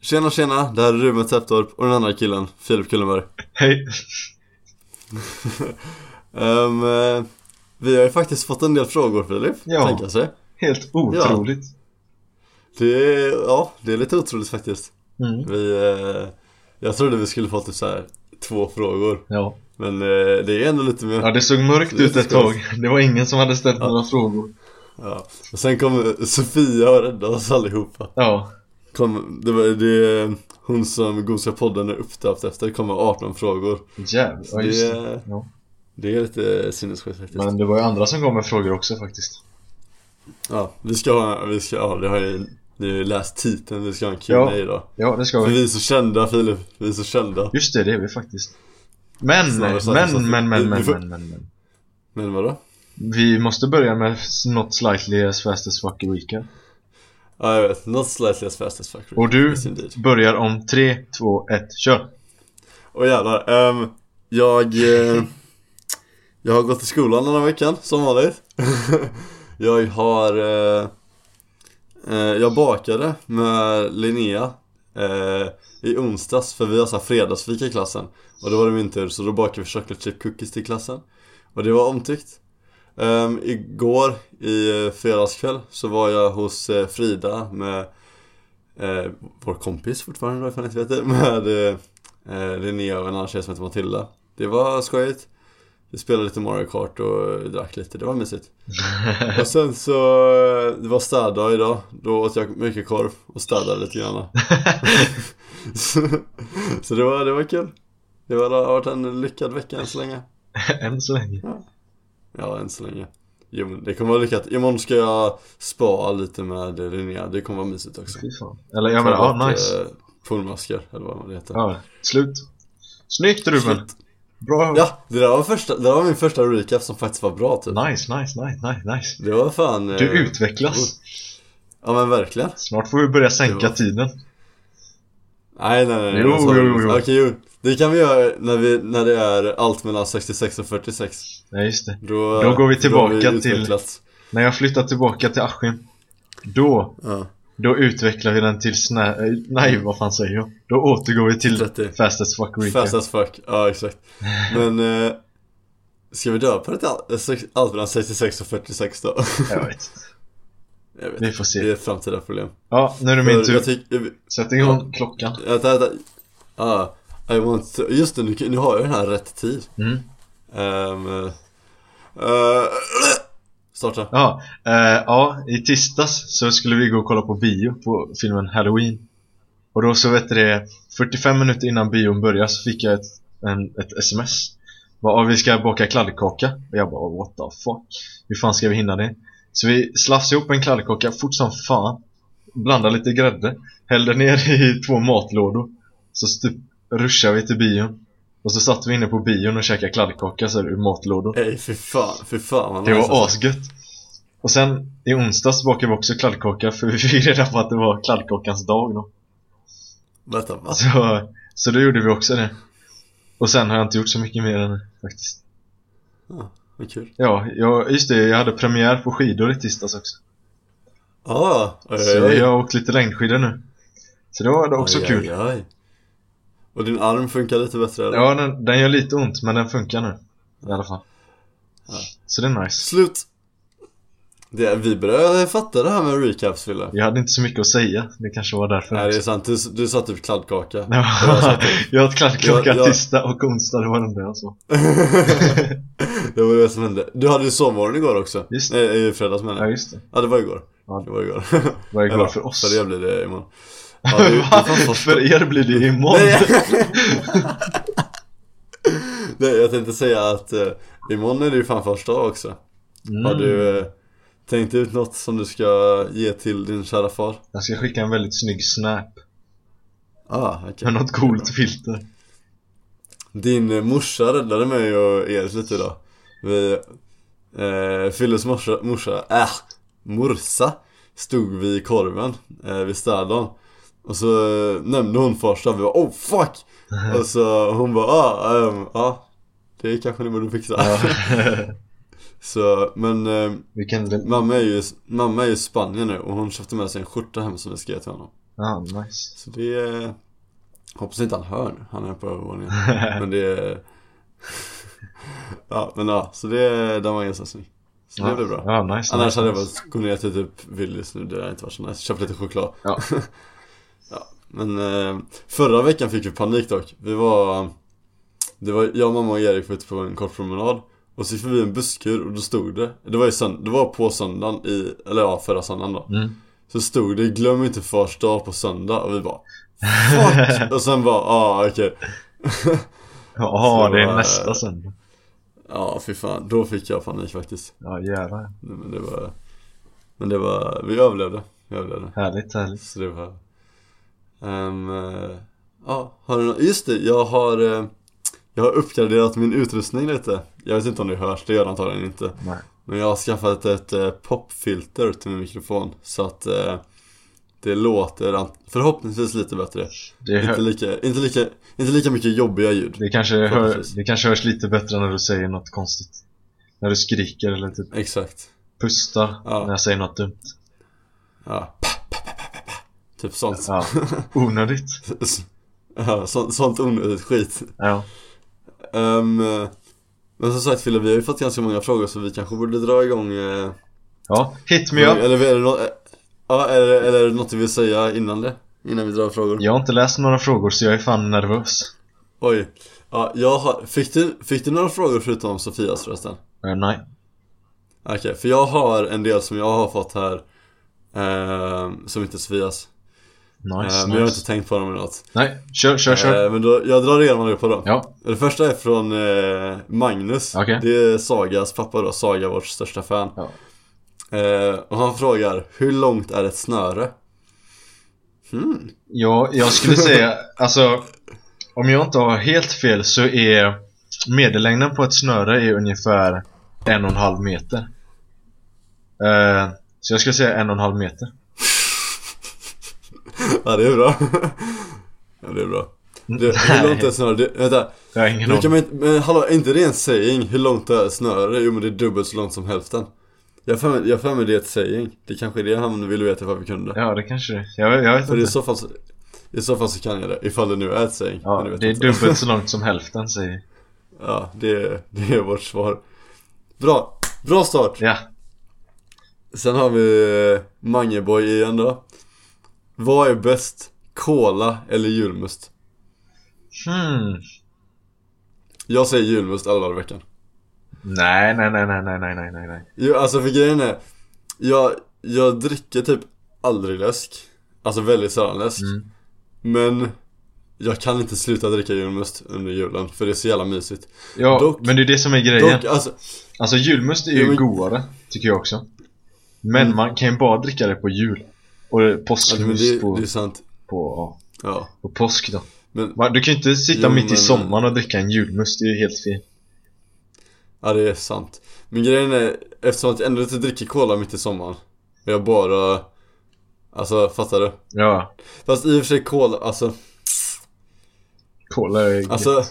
Tjena tjena, det här är Ruben Täpptorp och den andra killen, Filip Kullenberg Hej. Ehm, eh, Vi har ju faktiskt fått en del frågor Filip, Ja. tänka sig Helt otroligt. Det är, ja, det är lite otroligt faktiskt Mm. Vi, eh, jag trodde vi skulle få typ så här två frågor Ja. Men eh, det är ändå lite ja, mer det såg mörkt ut ett tag. Det var ingen som hade ställt några frågor. ja. Och sen kom Sofia och räddade oss allihopa Ja, kom, det, var, det Hon som Gosiga podden är uppdöpt efter, det kommer 18 frågor jävlar. Ja, just det. det, Ja. det är lite sinnessjukt faktiskt Men det var ju andra som gav mig frågor också faktiskt. Ja, vi ska ha, vi ska, ja det har ju, ni har ju läst titeln, vi ska ha en Q&A Ja. idag Ja, det ska För vi. vi är så kända Filip, vi är så kända Just det, det är vi faktiskt. Men, Snarare så- så- men, men, men, vi- men, vi får- men, men, men. Men vadå? Vi måste börja med något slightly as fast as fuck weekend. Ja jag vet, not slightly as fast as fuck Och du? Yes, indeed. Börjar om 3, 2, 1, kör! Och jävlar, ehm, jag eh, Jag har gått i skolan den här veckan, som vanligt Jag har eh, eh, Jag bakade med Linnea eh, I onsdags, för vi har så här fredagsfika i klassen Och då var det min tur, så då bakade vi chocolate chip cookies till klassen Och det var omtyckt Ehm, Igår, i eh, fredagskväll, så var jag hos eh, Frida med eh, Vår kompis fortfarande då, ifall ni inte vet det, med eh, Eh, Linnea och en annan tjej som heter Matilda Det var skojigt Vi spelade lite Mario Kart och drack lite, det var mysigt Och sen så, eh, det var städdag idag Då åt jag mycket korv och städade lite grann så, så det var, det var kul Det var, det har varit en lyckad vecka än så länge Än så länge. Ja, än så länge Jo men det kommer vara lyckat Imorgon ska jag spa lite med Linnea, det kommer vara mysigt också Fy fan. Eller jag menar, ja, nice. eh, Poolmasker, eller vad det heter Ja, slut. Snyggt Ruben! Bra! Ja, det där var, första, det där var min första recap som faktiskt var bra typ Nice, nice, nice, nice, nice. Det var fan... eh, Du utvecklas. Ja men verkligen Snart får vi börja sänka Jo. tiden. Nej nej nej, nej Jo, jag sa jo, det. jo, jo. Okej jo, det kan vi göra när, vi, när det är allt mellan 66 och 46 Ja, just det. Då, Då går vi då tillbaka har vi till- utvecklats. När jag flyttar tillbaka till Askim, då, Ja, då utvecklar vi den till snä... eh, Nej, vad fan säger jag? Då återgår vi till 30 Fast as fuck recap. Fast as fuck, ja exakt Men eh, Ska vi döpa det till all- sex- allt mellan 66 och 46 då? Jag vet. Jag vet, Vi får det se. är framtida problem Ja, nu är det min För Jag tur. tycker, Sätt igång klockan. Vänta, vänta. Ja, I want to... Just det, nu, nu har jag den här rätt tid. Mm. Ehm, eh, starta. Ja, eh, ja, i tisdags så skulle vi gå och kolla på bio på filmen Halloween. Och då så vet du det, 45 minuter innan bion börjar så fick jag ett, en, ett sms. Bara, "Ja, vi ska baka kladdkaka. Och jag bara, what the fuck? Hur fan ska vi hinna det? Så vi slafsade ihop en kladdkaka fort som fan. Blandade lite grädde. Hällde ner i två matlådor. Så typ ruschade vi till bion. Och så satt vi inne på bion och käkade kladdkaka så här ur matlådor. Ey, fy fan, fy fan vad Det nice, var alltså. asgött. Och sen i onsdags bakade vi också kladdkaka för vi fick reda på att det var kladdkakans dag då. Vänta, va? Så, så då gjorde vi också det. Och sen har jag inte gjort så mycket mer än det faktiskt. Vad kul. Ja, jag, just det, jag hade premiär på skidor i tisdags också. Ah, Så jag har åkt lite längdskidor nu. Så det Alltså, var det var också kul. Aj, aj. Och din arm funkar lite bättre eller? Ja, den, den gör lite ont men den funkar nu. I alla fall. Ja. Så det är nice. Slut. Det, vi börjar fatta det här med recaps, Fille. Jag hade inte så mycket att säga. Det kanske var därför. Nej, det också. är sant. Du, du sa typ kladdkaka. Nej, jag åt kladdkaka Jag- jag- tisdag och onsdag, det var den där alltså. det var det som hände. Du hade ju sovmorgon igår också. Just Nej, i fredags menar Ja jag. just det, Ja, det var igår. Ja. Det var igår. vad jag Eller, glad för oss. För er blir det imorgon. Ja, det, det är fan Va? första- för er blir det imorgon. Nej, jag tänkte säga att eh, imorgon är det ju fan första dag också. Mm. Har du eh, tänkt ut något som du ska ge till din kära far? Jag ska skicka en väldigt snygg snap Ah, okej. med något coolt filter. Din eh, morsa räddade mig och er lite idag. Vi, eh, Filles morsa, morsa, äh, morsa stod vid korven eh, vid städdagen. Och så eh, nämnde hon Farsta, vi var oh fuck! Och så hon bara ah, ehm, ja det kanske ni borde fixa. Ja. Så, men eh, Vilken... mamma, är ju, mamma är ju i Spanien nu och hon köpte med sig en skjorta hem som vi ska ge till honom. Ja, nice. Så det är... Hoppas inte han hör nu, han är på övervåningen Men det är... Ja men ja, så det, den var ganska snygg Så det blev bra Ja, nice. Annars nice, hade jag nice. bara gått ner till typ Willys nu, det hade inte varit så nice Köpt lite choklad Ja. Ja, men eh, förra veckan fick vi panik dock Vi var Det var jag, mamma och Erik var ute på en kort promenad Och så gick vi förbi en busskur och då stod det Det var ju sönd- det var på söndagen i, eller ja förra söndagen då Mm. Så stod det 'Glöm inte fars dag på söndag' och vi bara Fuck! och sen bara, ah okej Ja, Så, det är eh, nästa söndag. Ja fy fan, då fick jag panik faktiskt Ja, jävlar. Nej, Men det var Men det var, vi överlevde, vi överlevde Härligt, härligt. Så det var... Ehm, eh, ja, har du nå- Just det, jag har... eh, jag har uppgraderat min utrustning lite. Jag vet inte om det hörs, det gör det antagligen inte. Nej. Men jag har skaffat ett eh, popfilter till min mikrofon. Så att eh, det låter an- förhoppningsvis lite bättre. Det, Inte hör, lika, inte, lika, inte lika mycket jobbiga ljud. det, kanske hör, Förhoppningsvis. det kanske hörs lite bättre när du säger något konstigt. När du skriker eller typ Exakt. pustar Ja. när jag säger något dumt. Ja. Typ sånt. Ja. Onödigt. Ja, sånt, sånt onödigt skit. Ja. Ehm, eh, men som sagt Fille, vi har ju fått ganska många frågor så vi kanske borde dra igång eh, ja, hit me up. Eller är det, nå- eh, ja, eller, eller är det något du vill säga innan det? Innan vi drar frågor? Jag har inte läst några frågor så jag är fan nervös. Oj ja, jag har, fick, du, fick du några frågor förutom Sofias förresten? Eh, nej. Okej, för jag har en del som jag har fått här ehm, Som inte är Sofias Nice, Eh, nice. Men jag har inte tänkt på dem eller något Nej, kör, kör, kör. Eh, Men då, jag drar igenom det på dem ja, Det första är från eh, Magnus Okej. Det är Sagas pappa då, Saga vårt största fan Ja. eh, Och han frågar, hur långt är ett snöre? Hmm. Ja, jag skulle säga, alltså om jag inte har helt fel så är medellängden på ett snöre är ungefär en och en halv meter. Eh, så jag skulle säga en och en halv meter. Ja det är bra Ja det är bra det, Hur långt är ett snöre? Det, vänta, Jag har ingen nu kan aning. man inte, men hallå är inte det en saying? Hur långt är ett snöre? Jo men det är dubbelt så långt som hälften Jag har för mig- jag har för mig det är ett saying Det kanske är det han ville veta ifall vi kunde Ja, det kanske det är. jag, jag vet För i inte. så fall så, i så fall så kan jag det, ifall det nu är ett saying Ja, men vet det är jag inte. dubbelt så långt som hälften säger Ja, det, det är vårt svar. Bra, bra start! Ja, Sen har vi eh, Mangeboy igen då. Vad är bäst? Cola eller julmust? hmm. Jag säger julmust alla dagar i veckan. Nej, nej, nej, nej, nej, nej, nej, nej, nej. Jo, alltså för grejen är, jag, jag dricker typ aldrig läsk. Alltså väldigt sällan läsk. Mm. Men jag kan inte sluta dricka julmust under julen, för det är så jävla mysigt. Ja, Dock- men det är det som är grejen. Dock, alltså, Alltså julmust är Jo, ju men- godare, tycker jag också. Men Mm. man kan ju bara dricka det på jul. Och alltså men påskmust det, på, det är sant. på, ja, Ja, på påsk då. men Va, Du kan ju inte sitta Jo, mitt i men- sommaren och dricka en julmust, det är ju helt fel. Ja det är sant Men grejen är, eftersom att jag ändå inte dricker cola mitt i sommaren Jag bara Alltså fattar du? Ja, Fast i och för sig cola, alltså cola är gött. Alltså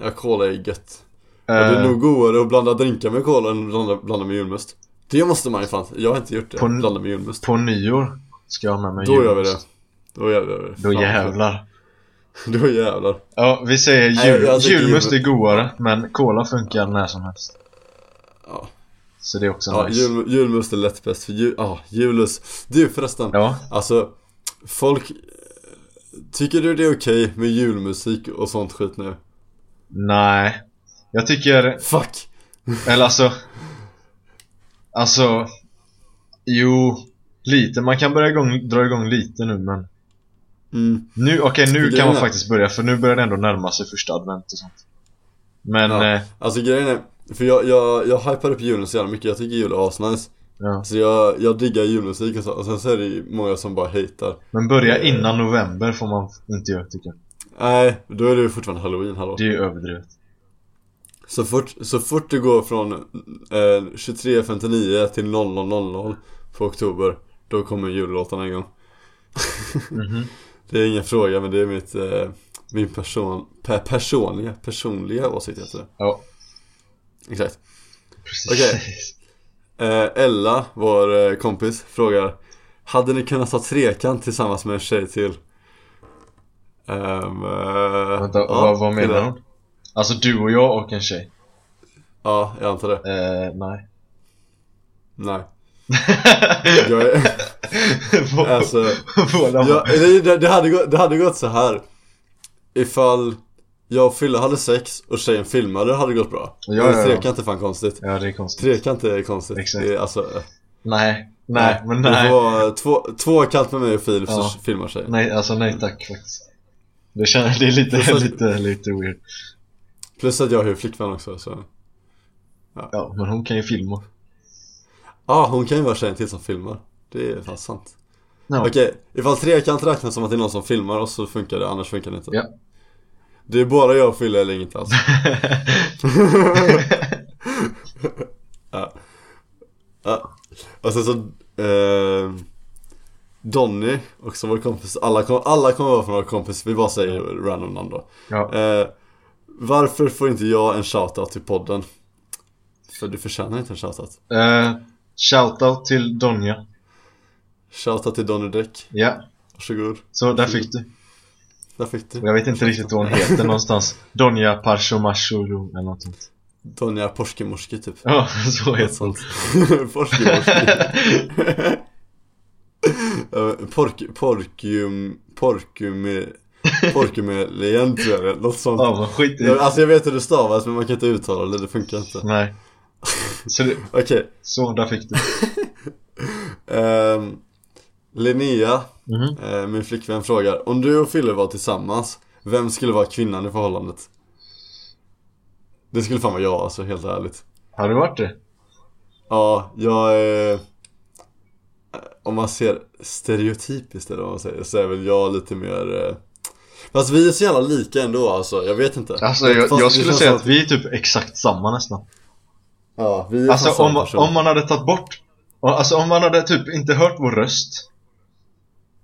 Ja cola är gött Eh, Och det är nog godare att blanda drinkar med cola än att blanda, blanda med julmust Det måste man ju fan, jag har inte gjort det, På- blanda med julmust På nyår ska jag ha med mig Då gör vi det julmust. Då gör vi det Då Fan. jävlar. Då jävlar Ja, vi säger jul, Nej, jag- jag tycker julmust är jul- godare, men cola funkar när som helst. Ja, Så det är också ja nice. jul, julmust är lätt bäst för jul, ah, julus Du förresten Ja, Alltså, folk Tycker du det är okej med julmusik och sånt skit nu? nej. Jag tycker Fuck! Eller alltså Alltså Jo Lite, man kan börja igång, dra igång lite nu men Mm. Nu, okej nu Grejen kan man är- faktiskt börja för nu börjar det ändå närma sig första advent och sånt Men, Ja. ja, eh, Alltså grejen är, för jag, jag, jag hypar upp julen så jävla mycket, jag tycker jul är asnice ja. Så jag, jag diggar julmusik och så, och sen så är det ju många som bara hatar Men börja Eh. innan november får man inte göra tycker jag Nej, då är det ju fortfarande halloween hallå Det är ju överdrivet så, fort, så fort det går från eh, 23.59 till 00.00 på oktober Då kommer jullåtarna igång Mhm. Det är ingen fråga men det är mitt, eh, min person, per, personliga, personliga åsikt heter det Ja, Exakt precis Okej. Eh, Ella, vår eh, kompis, frågar Hade ni kunnat ta trekant tillsammans med en tjej till? Ehm, eh, Vänta, ja, vad, vad menar killar. hon? Alltså du och jag och en tjej? Ja, jag antar det. Eh, nej. Nej. Jag är, alltså, Båda jag, bara, det, det- det, hade gått, det hade gått så här Ifall jag och Fille hade sex och tjejen filmade hade det gått bra. Ja, Men ja, ja. Trekant är fan konstigt. Ja det är konstigt. Trekant är konstigt. Exakt. Det är, alltså, eh, Nej, nej, men Det nej. var två, två kallt med mig och Filip Ja. så filmar sig. Nej, alltså Mm. nej tack faktiskt. Det, känns, det är Det lite, känns- lite, lite weird. Plus att jag har ju flickvän också så. Ja, men hon kan ju filma. ah, hon kan ju vara tjejen till som filmar. Det är fan sant. Ja. Okej, ifall trekant räknas som att det är någon som filmar oss så funkar det, annars funkar det inte. Ja. Det är bara jag och Fille eller inget alls. ja. ja. Och sen så, eh, Donny, också vår kompis, alla, kom, alla kommer vara från vår kompis, vi bara säger random namn då. ja. Eh, varför får inte jag en shoutout till podden? För du förtjänar inte en shoutout. Eh, shoutout till Donja. Shoutout till Donny Däck. Ja, Varsågod. så där fick du. Där fick du. Jag vet inte riktigt vad hon heter någonstans. Donja Parsomashuru eller något sånt. Donja Porskemorski typ. Ja, så Något heter hon. sånt. Porskemorski. Eh, Pork... Porkium... Porkume... Porkumelien tror jag det är. Något sånt. Ja, men skit i Jag- Alltså jag vet hur det stavas men man kan inte uttala det, det funkar inte. Nej. Så, det, Okej. så, där fick du. ehm, Linnea Mhm. Eh, Min flickvän frågar Om du och Fille var tillsammans Vem skulle vara kvinnan i förhållandet? Det skulle fan vara jag alltså, helt ärligt Har du varit det? Ja, jag är... Om man ser stereotypiskt eller vad man säger så är väl jag lite mer eh, Fast vi är så jävla lika ändå alltså, jag vet inte Alltså jag, Fast det jag skulle känns säga som att vi är typ exakt samma nästan Ja, vi är Alltså fan om, samma person. om man hade tagit bort Alltså om man hade typ inte hört vår röst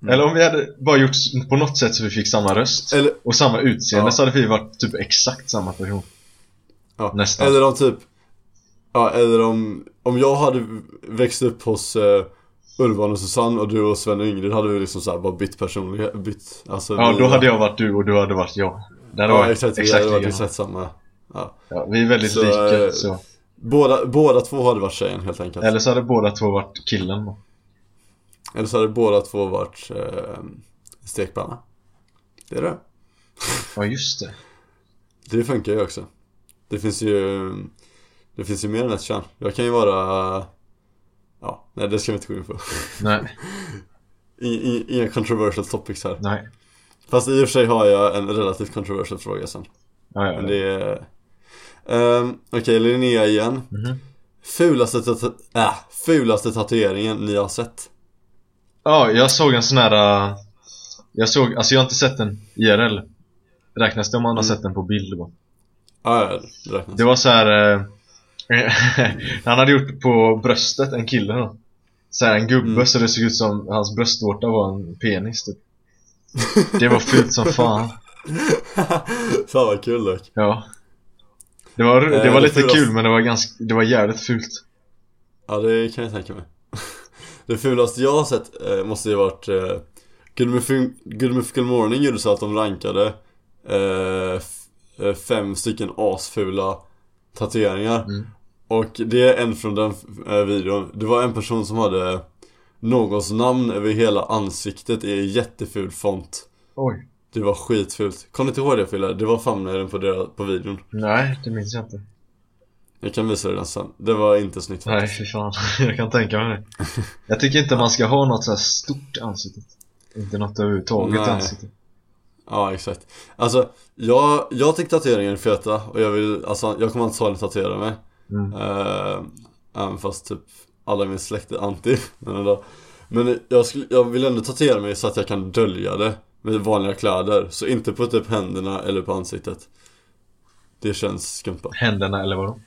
Mm. Eller om vi hade bara gjort s- på något sätt så vi fick samma röst Eller- och samma utseende Ja. så hade vi varit typ exakt samma person Ja. Nästan. Eller om typ Ja, eller om Om jag hade växt upp hos eh, Urban och Susanne och du och Sven och Ingrid hade vi liksom såhär bara bytt personlighet, bytt alltså, Ja vi- då hade jag varit du och du hade varit jag Det hade Ja varit exakt, exakt, vi hade varit likadant. exakt samma ja. ja, Vi är väldigt Så, eh, lika så. båda, båda två hade varit tjejen helt enkelt Eller så hade båda två varit killen då. Eller så hade båda två varit eh, stekpanna Det är det Ja just det Det funkar ju också Det finns ju Det finns ju mer än ett kön Jag kan ju vara Ja, nej det ska vi inte gå in på Nej, I- i- Inga controversial topics här nej Fast i och för sig har jag en relativt kontroversiell fråga sen. ja, Men ja, ja. det är... Ehm, Okej, Linnea igen. Mhm. Fulaste, tatu- äh, fulaste tatueringen ni har sett? Ja, jag såg en sån här äh, Jag såg, alltså jag har inte sett den IRL Räknas det om man har Mm. sett den på bild bara? Ah, ja, det räknas. Det var så här. äh, han hade gjort på bröstet, en kille då så här, en gubbe Mm. så det såg ut som hans bröstvårta var en penis typ Det var fult som fan Fan vad kul dock. Ja Det var, Eh, det var det lite fulaste- kul men det var ganska, det var jävligt fult Ja, det kan jag tänka mig. Det fulaste jag har sett eh, måste ju varit eh, Good Mythical Morning gjorde så att de rankade eh, f- eh, fem stycken asfula tatueringar. Mm. Och det är en från den eh, videon. Det var en person som hade någons namn över hela ansiktet i jätteful font. Oj Det var skitfult. Kommer du inte ihåg det Fille? Det var thumbnailen på, deras- på videon. Nej, det minns jag inte Jag kan visa dig den sen. Det var inte snyggt Nej faktiskt. fy fan, jag kan tänka mig det Jag tycker inte man ska ha något så här stort ansikte Inte något överhuvudtaget Nej. ansikte Ja, exakt. Alltså, jag, jag tycker tatueringar är feta och jag vill, alltså jag kommer antagligen tatuera mig. mm. Eh, även fast typ alla i min släkt är anti men ändå. Men jag, skulle, jag vill ändå tatuera mig så att jag kan dölja det med vanliga kläder. Så inte på typ händerna eller på ansiktet. Det känns skumpa. Händerna eller vadå?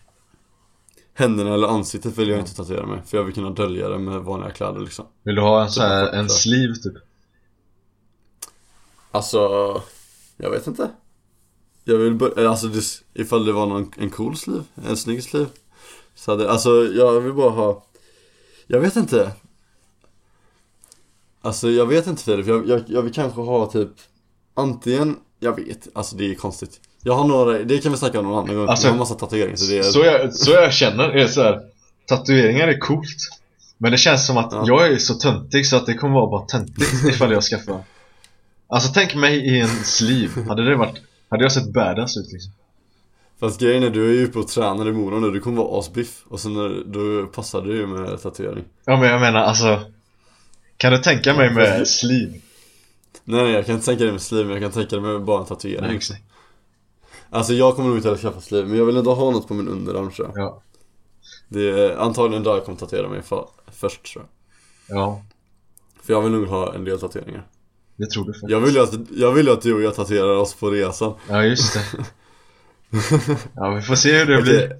Händerna eller ansiktet vill jag inte tatuera mig. För jag vill kunna dölja det med vanliga kläder liksom. Vill du ha en så här, Typ en så. sleeve typ? Alltså, jag vet inte. Jag vill bara, alltså det, ifall det var någon, en cool sliv, en snygg sliv. Så hade, alltså jag vill bara ha, jag vet inte. Alltså jag vet inte Filip, jag, jag, jag vill kanske ha typ Antingen, jag vet, alltså det är konstigt Jag har några, det kan vi snacka om någon annan gång Alltså, Jag har massa tatueringar så det är Så jag, så jag känner är så här, tatueringar är coolt Men det känns som att Ja. jag är så töntig så att det kommer vara bara töntigt ifall jag skaffar Alltså tänk mig i en sleeve, hade det varit hade jag sett badass ut liksom? Fast grejen är, du är ju uppe och tränar i Mora nu, du kommer vara asbiff Och sen när- då passar det ju med tatuering Ja men jag menar alltså Kan du tänka mig med sleeve? Nej nej jag kan inte tänka det med sliv, men jag kan tänka det med bara en tatuering Nej, Alltså jag kommer nog inte heller skaffa sliv, men jag vill ändå ha något på min underarm tror jag Ja, Det är antagligen där jag kommer tatuera mig för, först tror jag ja För jag vill nog ha en del tatueringar det tror du för. Jag vill ju att, jag vill ju att du och jag tatuerar oss på resan Ja just det Ja vi får se hur det Okej. blir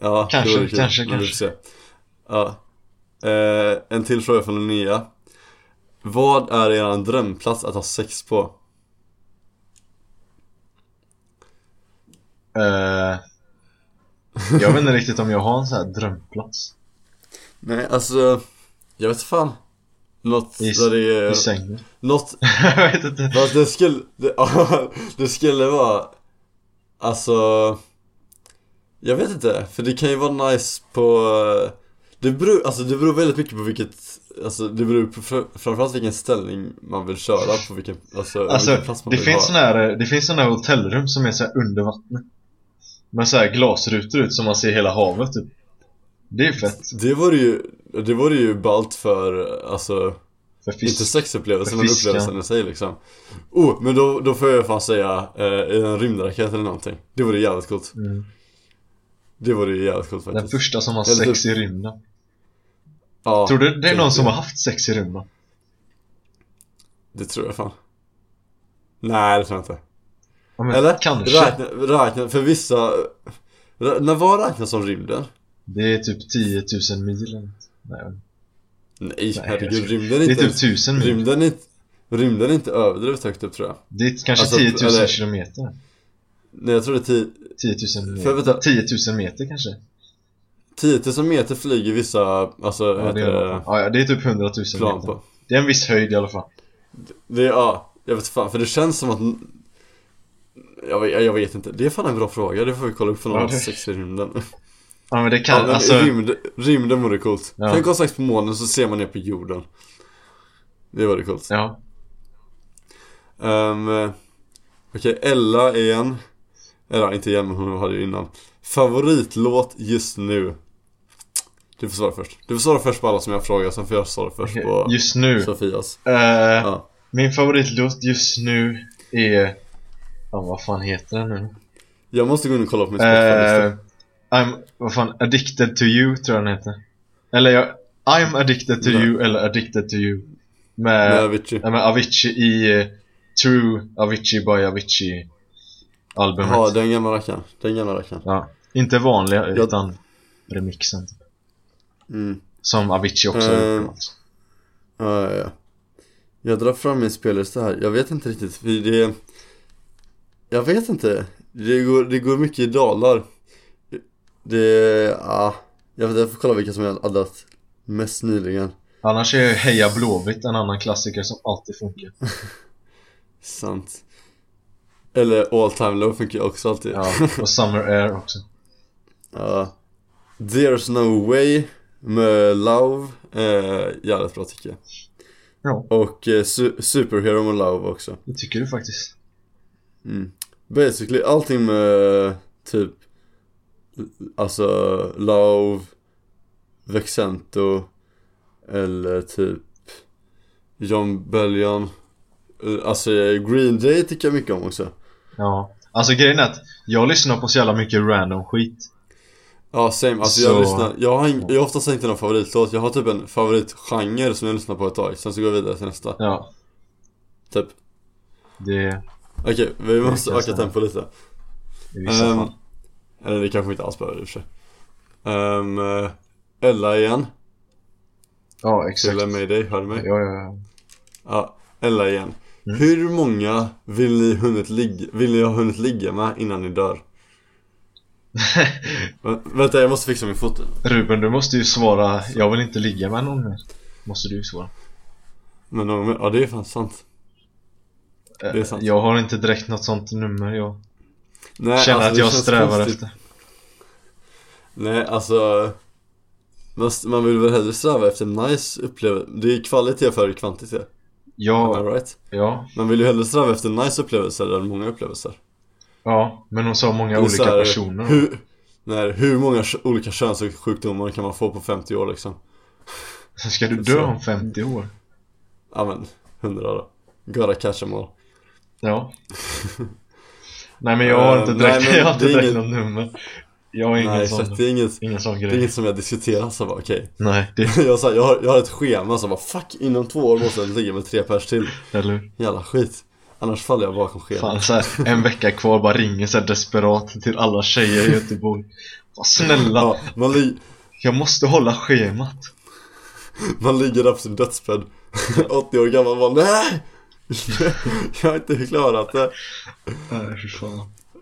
Ja, Kanske, det vore kul. kanske, Vi får kanske. se. Ja. Eh, en till fråga från Linnea. Vad är er drömplats att ha sex på? Eh, Jag vet inte riktigt om jag har en sån här drömplats Nej, alltså... Jag vet fan. Något I s- där det är... i sängen Något... Jag vet inte Fast det skulle... Det, det skulle vara... Alltså... Jag vet inte, för det kan ju vara nice på... eh, Det beror, alltså det beror väldigt mycket på vilket, alltså det beror på fr- framförallt vilken ställning man vill köra på vilken, alltså, Alltså vilken plats man det vill finns, ha. såna här, det finns såna här hotellrum som är så här under vattnet Med så här glasrutor ut som man ser hela havet typ Det är fett Det vore ju, det vore ju ballt för, alltså, för inte fisk sexupplevelsen för men fisken. upplevelsen i sig liksom Oh, men då, då får jag fan säga eh, en rymdraket eller någonting Det vore jävligt coolt mm. Det vore ju jävligt coolt Den faktiskt första som har Eller typ- sex i rymden ja, typ. Tror du det är tänk någon som har haft sex i rymden? Det tror jag fan Nej det tror jag inte Ja, men Eller? Kanske Räkna, räkna, för vissa Rä- När vad räknas som rymden? Det är typ 10 000 mil eller något. Nej, jag vet inte. Nej, jag herregud skojar. rymden är Det är inte typ 1000 mil Rymden är inte Rymden är inte överdrivet högt upp tror jag Det är kanske Alltså, 10 000 eller- kilometer Nej jag tror det är 10 10 000 För meter vänta. 10 000 meter kanske? 10 000 meter flyger vissa, alltså, Ja det, heter är, det, ja, ja, det är typ 100 000 plan meter på Det är en viss höjd i alla fall Det är, ja, jag vet fan, för det känns som att jag vet, jag vet inte, det är fan en bra fråga, det får vi kolla upp för någon Ja, ja, det- sex i rymden Ja men det ja, kan, men alltså rymd, Rymden vore coolt Ja. Tänk att ha sex på månen så ser man ner på jorden Det vore coolt Ja, Ehm, eh, Okej, Ella igen Eller inte igen, men hon hade ju innan Favoritlåt just nu Du får svara först Du får svara först på alla som jag frågar, sen får jag svara först okej. på just nu Sofias eh, ja. Min favoritlåt just nu är... Ja, vad fan heter den nu? Jag måste gå in och kolla på min Spotify-lista Eh, I'm, vad fan, Addicted to you tror jag den heter Eller jag, I'm addicted to Nej. you eller addicted to you Med Med, med, Avicii med Avicii i eh, True Avicii by Avicii albumet Ja, den gamla rackaren. Den gamla rackaren. Ja, inte vanliga Jag- utan remixen typ. Mm. Som Avicii också har Eh, gjort alltså. Ja, ja, ja. Jag drar fram min spellista här. Jag vet inte riktigt. För det... Jag vet inte. Det går, det går mycket i dalar. Det... Ja. Jag, vet, jag får kolla vilka som jag har addat mest nyligen. Annars är ju Heja Blåvitt en annan klassiker som alltid funkar Sant. Eller All Time Low funkar ju också alltid. Ja, och Summer Air också Ja. There's No Way med Love. Eh, jävligt bra tycker jag. Ja, Och eh, su- Superhero med Love också. det tycker du faktiskt Mm. Basically allting med typ Alltså Love Vexento Eller typ John Bellion Eh, Alltså eh, Green Day tycker jag mycket om också Ja, alltså grejen är att jag lyssnar på så jävla mycket random skit Ja same, alltså Så- jag lyssnar Jag har, ing- jag har oftast inte någon favoritlåt Jag har typ en favoritgenre som jag lyssnar på ett tag Sen så går jag vidare till nästa, Ja, typ det Okej, vi måste kan jag öka säga. tempo lite i vissa Ehm, fall Eller det kanske inte alls behöver i och för sig Ehm, eh, Ella igen Ja, Exakt. exakt Eller Mayday, hör du Ja, mig? ja, ja. Ja, Ella igen. Mm. Hur många vill ni, hunnit ligga, vill ni ha hunnit ligga med innan ni dör? Vä- vänta, jag måste fixa min fot. Ruben, du måste ju svara Jag vill inte ligga med någon mer Måste du ju svara Men de, ja det är fan sant Det är sant. Jag har inte direkt något sånt nummer jag Nej, alltså, känner att det jag känns strävar konstigt. efter Nej alltså man, man vill väl hellre sträva efter nice upplevelse Det är kvalitet före kvantitet Am I Ja, right? ja, Man vill ju hellre sträva efter nice upplevelser än många upplevelser ja Men hon sa många Det är olika så här, personer Hur, nej, hur många kö- olika könssjukdomar kan man få på 50 år liksom? Ska du så- dö om 50 år? Ja men, 100 då Gotta catch 'em all Ja Nej men jag har Eh, inte nej, direkt, men jag har inte det är direkt ingen- något nummer Jag har ingen Nej så sån, att det är inget, ingen sån det är grej inget som jag diskuterar så jag bara okej Nej, det jag, sa, jag, har, jag har ett schema som bara fuck inom två år måste jag ligga med tre pers till eller hur? Jävla skit Annars faller jag bakom schemat Fan så här, en vecka kvar bara ringer så här desperat till alla tjejer i Göteborg Fan, Snälla, ja, man, li, jag måste hålla schemat man ligger där på sin dödsbädd 80 år gammal och bara nej Jag har inte klarat det Nej fy fan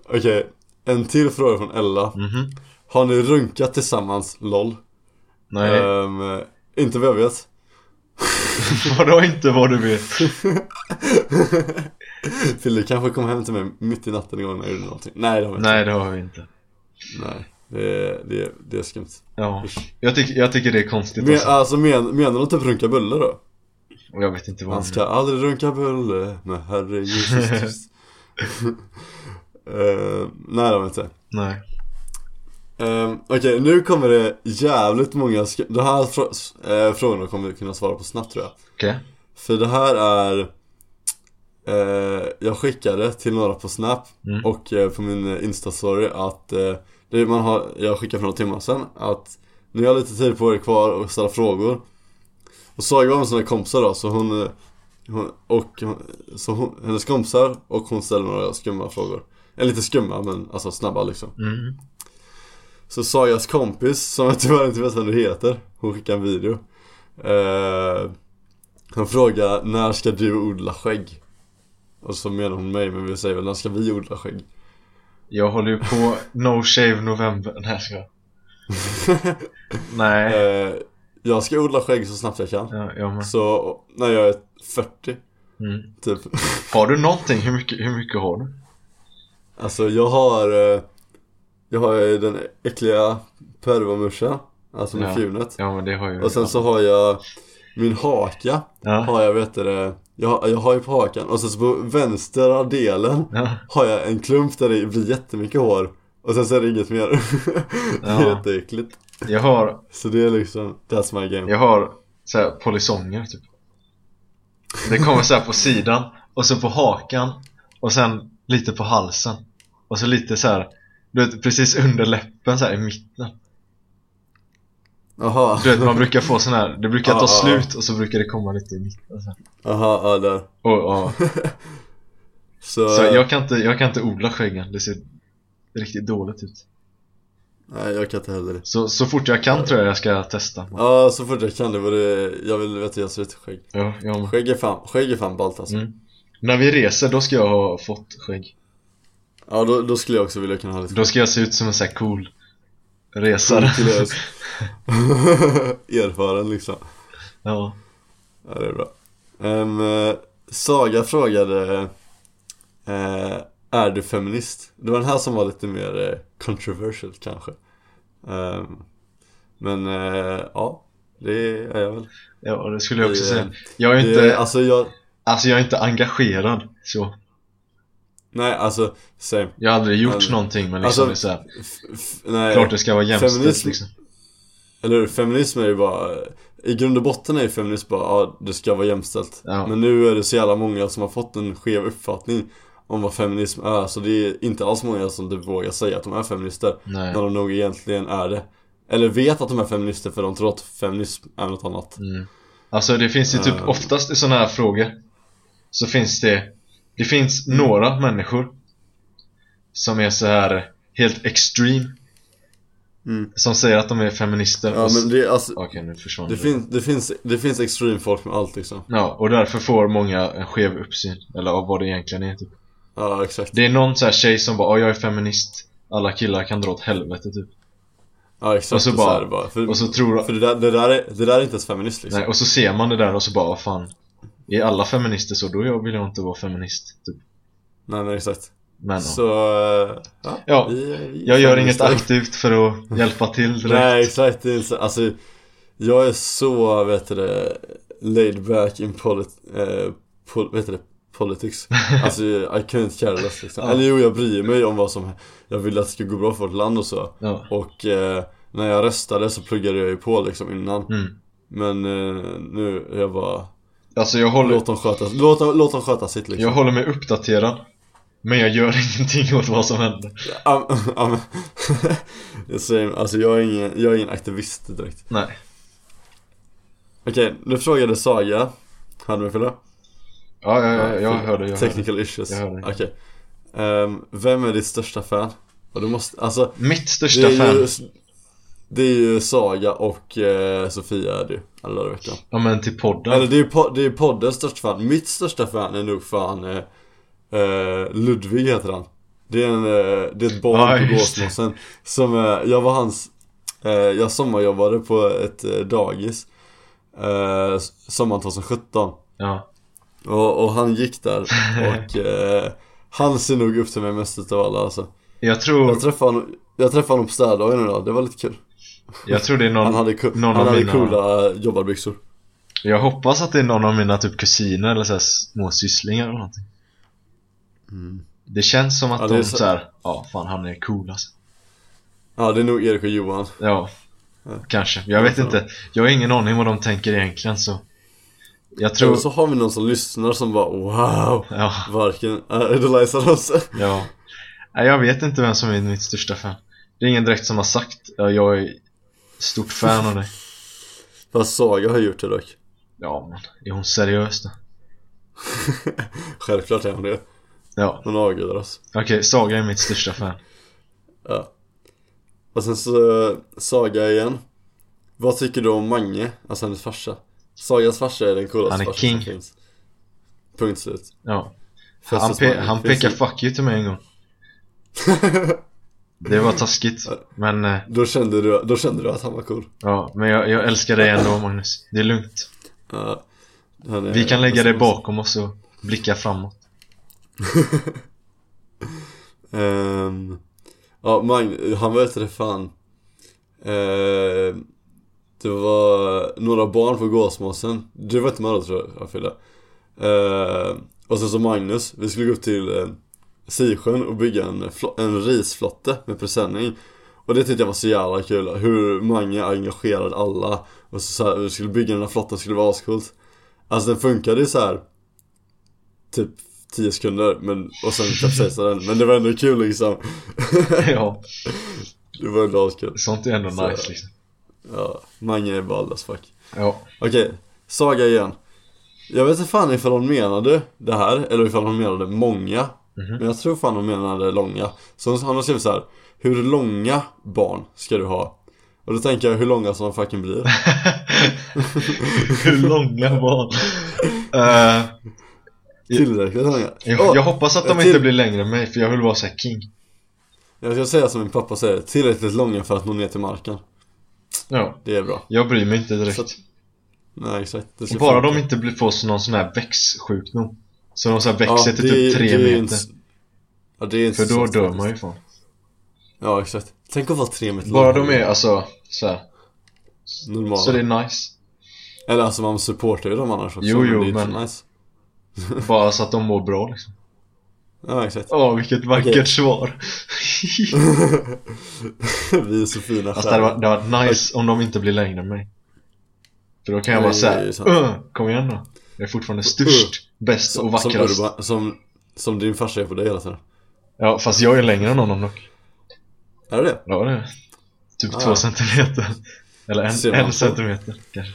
Okej, en till fråga från Ella Mhm. Har ni runkat tillsammans, LOL? Nej, Ehm, inte vad jag vet vadå inte vad du vet? Fille kanske kom hem till mig mitt i natten igår när jag gjorde någonting Nej det har vi inte Nej det har vi inte Nej, det, är- det, är- det är skumt Ja, jag, tycker jag tycker det är konstigt men, alltså. Alltså men, menar du typ runka bulle då? Och jag vet inte vad Man hon ska aldrig runka bulle med herre Jesus tyst uh, Nej det har vi inte Nej Ehm, Okej, nu kommer det jävligt många sk- De här frå- s- eh, frågorna kommer vi kunna svara på snabbt tror jag Okej, För det här är eh, Jag skickade till några på snap Mm. och eh, på min eh, instastory att eh, det man har, Jag skickade för några timmar sedan att Nu har jag lite tid på er kvar och ställa frågor Och Saga var med sina kompisar då så hon, eh, hon och hon- så hon, hennes kompisar och hon ställde några skumma frågor Eller lite skumma men alltså snabba liksom mm. så Sagas kompis, som jag tyvärr inte vet vad du heter, hon skickade en video eh, Hon frågar när ska du odla skägg? Och så menar hon mig, men vi säger väl när ska vi odla skägg? jag håller ju på No Shave November Nej jag skojar Nej, Eh, jag ska odla skägg så snabbt jag kan ja, jag med Så när jag är 40 mm. typ Har du någonting? Hur mycket, hur mycket har du? Alltså jag har eh, Jag har ju den äckliga pervomorsan Alltså med Ja. Mm. fjunet Ja men det har jag Och sen så har jag min haka Ja, har jag vet du det, jag, jag har ju på hakan och sen så på vänstra delen ja. har jag en klump där det blir jättemycket hår och sen så är det inget mer. det är Ja. jätteäckligt. Jag har, Så det är liksom, that's my game. jag har så här, polisonger typ Det kommer så här på sidan och så på hakan och sen lite på halsen och så lite så här, du vet precis under läppen så här i mitten Jaha, Du vet man brukar få sån här, det brukar Ja, ta ja, ja. slut och så brukar det komma lite i mitten så här. jaha, ja där. och, ja. Så, Så jag kan, inte, jag kan inte odla skäggen, det ser riktigt dåligt ut nej jag kan inte heller det. Så, så fort jag kan tror jag jag ska testa Ja, så fort jag kan det var det, jag vill veta hur jag ser ut i skägg. Ja, jag med. Skägg är fan, skägg är fan ballt alltså. Mm. När vi reser då ska jag ha fått skägg Ja, då, då skulle jag också vilja kunna ha lite Då ska jag se ut som en sån här cool resare Till- Erfaren liksom. Ja, Ja, det är bra. Ehm, eh, Saga frågade eh, Är du feminist? Det var den här som var lite mer eh, controversial kanske. Ehm, men eh, ja, det är jag väl. ja det skulle jag också Det- säga Jag är Det, inte, Alltså jag, alltså jag är inte engagerad så nej alltså, same. Jag har aldrig gjort Aldrig. någonting men liksom Alltså, det är så här, F- f- nej, klart det ska vara jämställt feminism- liksom eller hur? Feminism är ju bara I grund och botten är ju feminism bara, ja det ska vara jämställt. Ja. Men nu är det så jävla många som har fått en skev uppfattning om vad feminism är, så det är inte alls många som typ vågar säga att de är feminister. Nej, När de nog egentligen är det Eller vet att de är feminister för de tror att feminism är något annat Mm. Alltså det finns ju typ Eh. oftast i sådana här frågor Så finns det Det finns Mm. några människor Som är så här helt extreme Mm. Som säger att de är feminister Ja och s- men det, alltså, Okej nu försvann det, finns, det, finns, det finns extreme folk med allt liksom Ja och därför får många en skev uppsyn Eller av vad det egentligen är typ Ja exakt Det är någon så här tjej som bara "Ja, jag är feminist Alla killar kan dra åt helvete typ Ja exakt, och så det är bara- här det bara. För, Och så tror för det, där, det, där är, det där är inte ens feminist liksom Nej, och så ser man det där och så bara vad fan Är alla feminister så, då jag vill jag inte vara feminist typ. Nej men exakt Men ja. Så... eh, ja, Ja, vi- vi- jag gör vi- inget aktivt för att hjälpa till Nej direkt exakt, det är så- alltså Jag är så, vet du det, laid back in polit, eh, pol, vet du det, politics Alltså I couldn't care less liksom. Ja. Eller jo, jag bryr mig om vad som Jag vill att det ska gå bra för vårt land och så ja. Och eh, när jag röstade så pluggade jag ju på liksom innan Mm. Men eh, nu, är jag bara Alltså jag håller, Låt dem sköta, låt, dem- låt dem sköta sitt liksom jag håller mig uppdaterad Men jag gör ingenting åt vad som händer Ja, ja, men- Jag säger, alltså jag är ingen, jag är ingen aktivist direkt Nej Okej, du frågade Saga Hade mig fylla? Ja, ja, ja jag hörde, jag hörde. Technical issues Jag hörde. Okej Ehm, Vem är ditt största fan? Och du måste, alltså Mitt det största är, fan ju, det är ju Saga och eh, Sofia är det ju Alla dagar i veckan Ja men till Eller podden det är ju po- det är poddens största fan Mitt största fan är nog fan eh, eh, Ludvig heter han Det är, en, eh, det är ett barn Ja, på just det. Gåsmossen Som, eh, jag var hans eh, Jag sommarjobbade på ett eh, dagis eh, Sommaren 2017 Ja, och, och han gick där och eh, han ser nog upp till mig mest utav alla alltså. jag tror, Jag träffade honom, jag träffade honom på städdagen idag, det var lite kul jag tror det är Han någon hade, ku- någon av han hade mina- coola jobbarbyxor Jag hoppas att det är någon av mina typ kusiner eller såhär små sysslingar eller någonting Det känns som att Mm. Ja, det är de så- så... såhär, ja fan han är cool alltså Ja det är nog Erik och Johan Ja, Ja. kanske. Jag vet Ja. inte. Jag har ingen aning vad de tänker egentligen så Jag tror... Eller så har vi någon som lyssnar som bara wow Ja, Varken, äh, Eliza Rose ja. Nej, jag vet inte vem som är mitt största fan. Det är ingen direkt som har sagt ja, jag är stort fan av dig. Fast Saga har gjort det dock Ja, men är hon seriös då? Självklart är hon det, Ja, hon avgudar oss okej. Saga är mitt största fan. Ja Och sen så, eh, Saga igen Vad tycker du om Mange? Alltså hennes farsa Sagas farsa är den coolaste Han är farsan som king. finns Punkt slut Ja. Festus Han, pe- Mange han finns pekar ju- fuck you till mig en gång. Det var taskigt. Men, eh, då, kände du, då kände du att han var cool ja, men jag, jag älskar dig ändå Magnus. Det är lugnt. Ja, han är- Vi kan lägga det bakom oss och blicka framåt. Ehm, Ja, Mag- han var ute det fan Ehm, Det var några barn på Gåsmossen Du var inte med då tror jag, jag Fille Ehm, Och sen så Magnus, vi skulle gå upp till eh, Sisjön och bygga en, flo- en risflotte med presenning Och det tyckte jag var så jävla kul, hur många engagerade alla Och så, så här, vi skulle bygga den här flotten, skulle vara ascoolt Alltså den funkade ju så här Typ 10 sekunder men, och sen kapsejsade den Men det var ändå kul liksom Ja, Det var ändå askul sånt är ändå Så- nice liksom. Ja, Mange är ball as fuck Ja. Okej, Saga igen Jag vet inte fan ifall hon menade det här eller ifall hon menade många Mhm. Men jag tror fan hon menade långa Så hon hon har skrivit så här. Hur långa barn ska du ha? Och då tänker jag hur långa som de fucking blir Hur långa var Eh, Tillräckligt långa jag, Åh, jag hoppas att de till- inte blir längre än mig för jag vill vara såhär king jag ska säga som min pappa säger Tillräckligt långa för att nå ner till marken Ja, Det är bra jag bryr mig inte direkt Så att- Nej exakt det ska Och Bara funka. de inte blir, får så någon sån här växtsjukdom Så de så här växer till det- typ tre det är ju meter inte- Ja det är inte För så då sant dör faktiskt. man ju fan Ja exakt Tänk att vara tre meter Bara lång. de är alltså såhär Normala Så det är nice Eller alltså man supportar ju dem annars också Jo, jo, det är inte men- så nice. Bara så att de mår bra liksom Ja exakt Åh vilket vackert Okej. svar Vi är så fina Fast Alltså, det hade varit, det hade varit nice om de inte blir längre än mig För då kan jag Nej, vara det är såhär, sant. Äh." "Öh, kom igen då Jag är fortfarande störst, bäst och som, vackrast Urban, som, som din farsa är på dig hela tiden Ja, fast jag är längre än honom dock. Är det det? Ja, det är Typ Ah. två centimeter. Eller Ser en, man en på. centimeter kanske.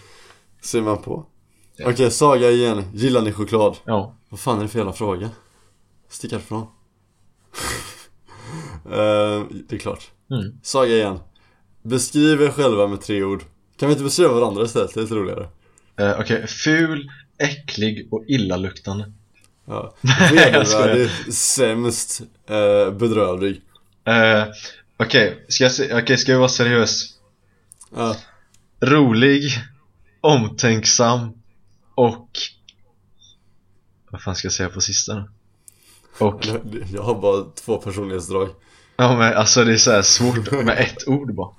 Ser man på Ja. Okej, Saga igen, gillar ni choklad? Ja. Vad fan är det för jävla fråga? Stick härifrån Eh, Det är klart Mm. Saga igen Beskriv er själva med tre ord Kan vi inte beskriva varandra istället? Det är lite roligare Eh, Okej, ful, äcklig och illaluktande. Ja, jag skojar. vedervärdig, sämst, eh, bedrövlig Eh, Okej, ska, jag se- okej, ska jag vara seriös? Ja, Rolig, omtänksam och Vad fan ska jag säga på sista då? Och, Jag har bara två personlighetsdrag ja men alltså det är så här svårt med ett ord bara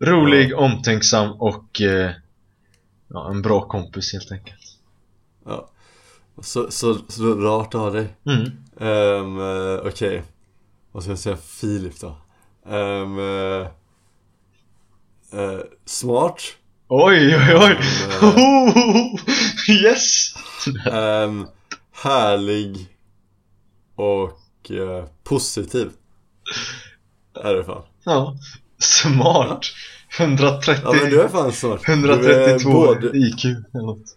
Rolig, omtänksam och eh, ja, en bra kompis helt enkelt ja. så, så, så rart att ha dig mm. Ehm, eh, Okej Vad ska jag säga Filip då? Ehm, eh, eh, smart Ehm, Oj oj oj! Ja, yes! Ehm, Härlig Och eh, positiv Är det fan Ja, smart! 130, Ja men du är fan smart Du är 132 både, IQ eller något.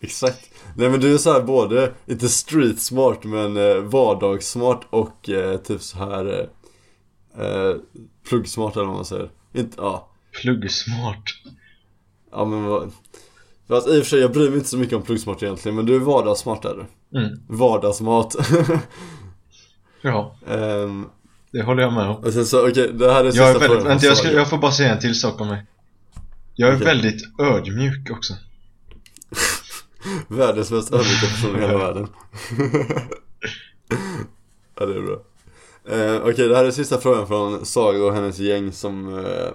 Exakt. Nej men du är så här både, inte street smart men eh, vardagssmart och eh, typ så här eh, eh, pluggsmart eller vad man säger. Inte, ja. Pluggsmart. Ja men vad. Fast i och för sig jag bryr mig inte så mycket om pluggsmart egentligen men du är vardagssmart är du. Mm. Vardagsmat. Ja, Ehm, det håller jag med om. och sen så okej det här är sista Jag, är väldigt, frågan vänta, jag, ska, Saga. jag får bara säga en till sak om mig. Jag är Okej. väldigt ödmjuk också. Världens mest ödmjuka person i hela världen Ja det är bra eh, Okej det här är sista frågan från Saga och hennes gäng som eh,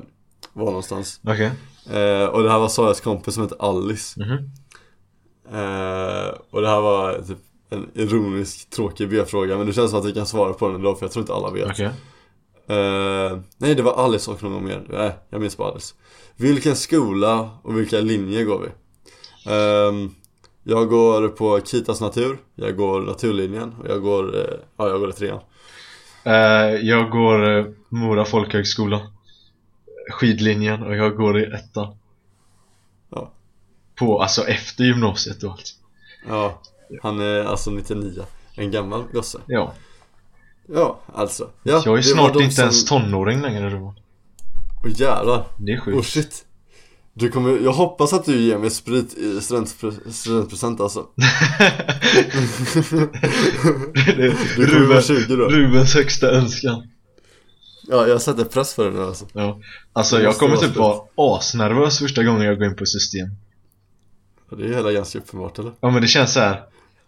var någonstans Okej. eh, Och det här var Sagas kompis som hette Alice Mhm. eh, Och det här var typ en ironisk tråkig B-fråga men det känns som att vi kan svara på den ändå för jag tror inte alla vet Okej. eh, Nej det var Alice och någon mer, nej jag minns bara Alice Vilken skola och vilka linjer går vi? Ehm, jag går på Kitas natur, jag går naturlinjen och jag går, eh, ja jag går i trean Eh, jag går eh, Mora folkhögskola. Skidlinjen och jag går i ettan. Ja. På, alltså efter gymnasiet och allt. Ja, han är alltså 99, en gammal gosse Ja. Ja, alltså ja, jag är det var snart de inte som- ens tonåring längre Roman. Åh jävlar, Det är sjukt. oh shit du kommer, jag hoppas att du ger mig sprit i studentpre- studentpresent alltså Det är Du kommer vara Ruben, 20 då Rubens högsta önskan Ja, jag sätter press för det nu alltså ja. Alltså Det jag måste kommer vara typ slut. vara asnervös första gången jag går in på system Ja, Det är ju hela ganska uppenbart eller? Ja men det känns så här.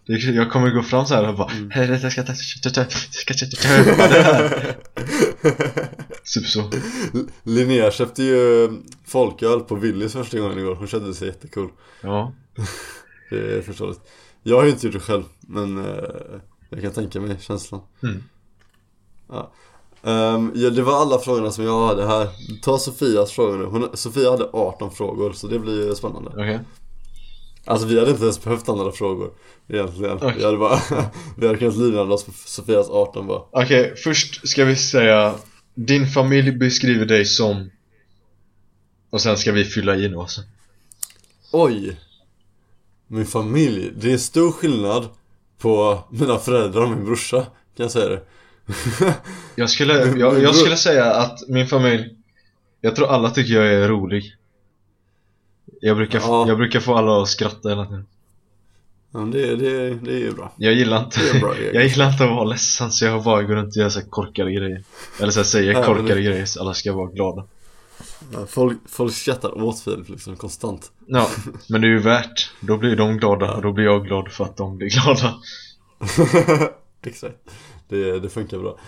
Det- Jag kommer gå fram så här och bara Mm. "Hej, jag ska ta- ta- ta- ska ta- ta- ta- ta- det här." Typ så Linnea köpte ju folköl på Willys första gången igår, hon kände sig jättecool Ja Det är förståeligt Jag har ju inte gjort det själv, men eh, jag kan tänka mig känslan Mm. ja. Ehm, ja, det var alla frågorna som jag hade här Ta Sofias frågor nu, hon, Sofia hade 18 frågor så det blir ju spännande okej Alltså vi hade inte ens behövt andra frågor egentligen Okej. Vi hade bara, vi hade kunnat livnära oss på Sofias 18 bara Okej först ska vi säga Din familj beskriver dig som Och sen ska vi fylla i nu alltså Oj! Min familj, det är stor skillnad på mina föräldrar och min brorsa kan jag säga det Jag skulle, jag, men jag bro- skulle säga att min familj Jag tror alla tycker jag är rolig Jag brukar, Ja. jag brukar få alla att skratta hela tiden Ja, men det, det, det är ju bra Jag gillar inte, Det är en bra jag egenskap. gillar inte att vara ledsen så jag bara går runt och gör så här korkade grejer Eller så här, säger Ja, men korkade det- grejer så alla ska vara glada Ja, Folk, folk skrattar åt Filip liksom konstant Ja, men det är ju värt Då blir de glada och då blir jag glad för att de blir glada Exakt det, det funkar bra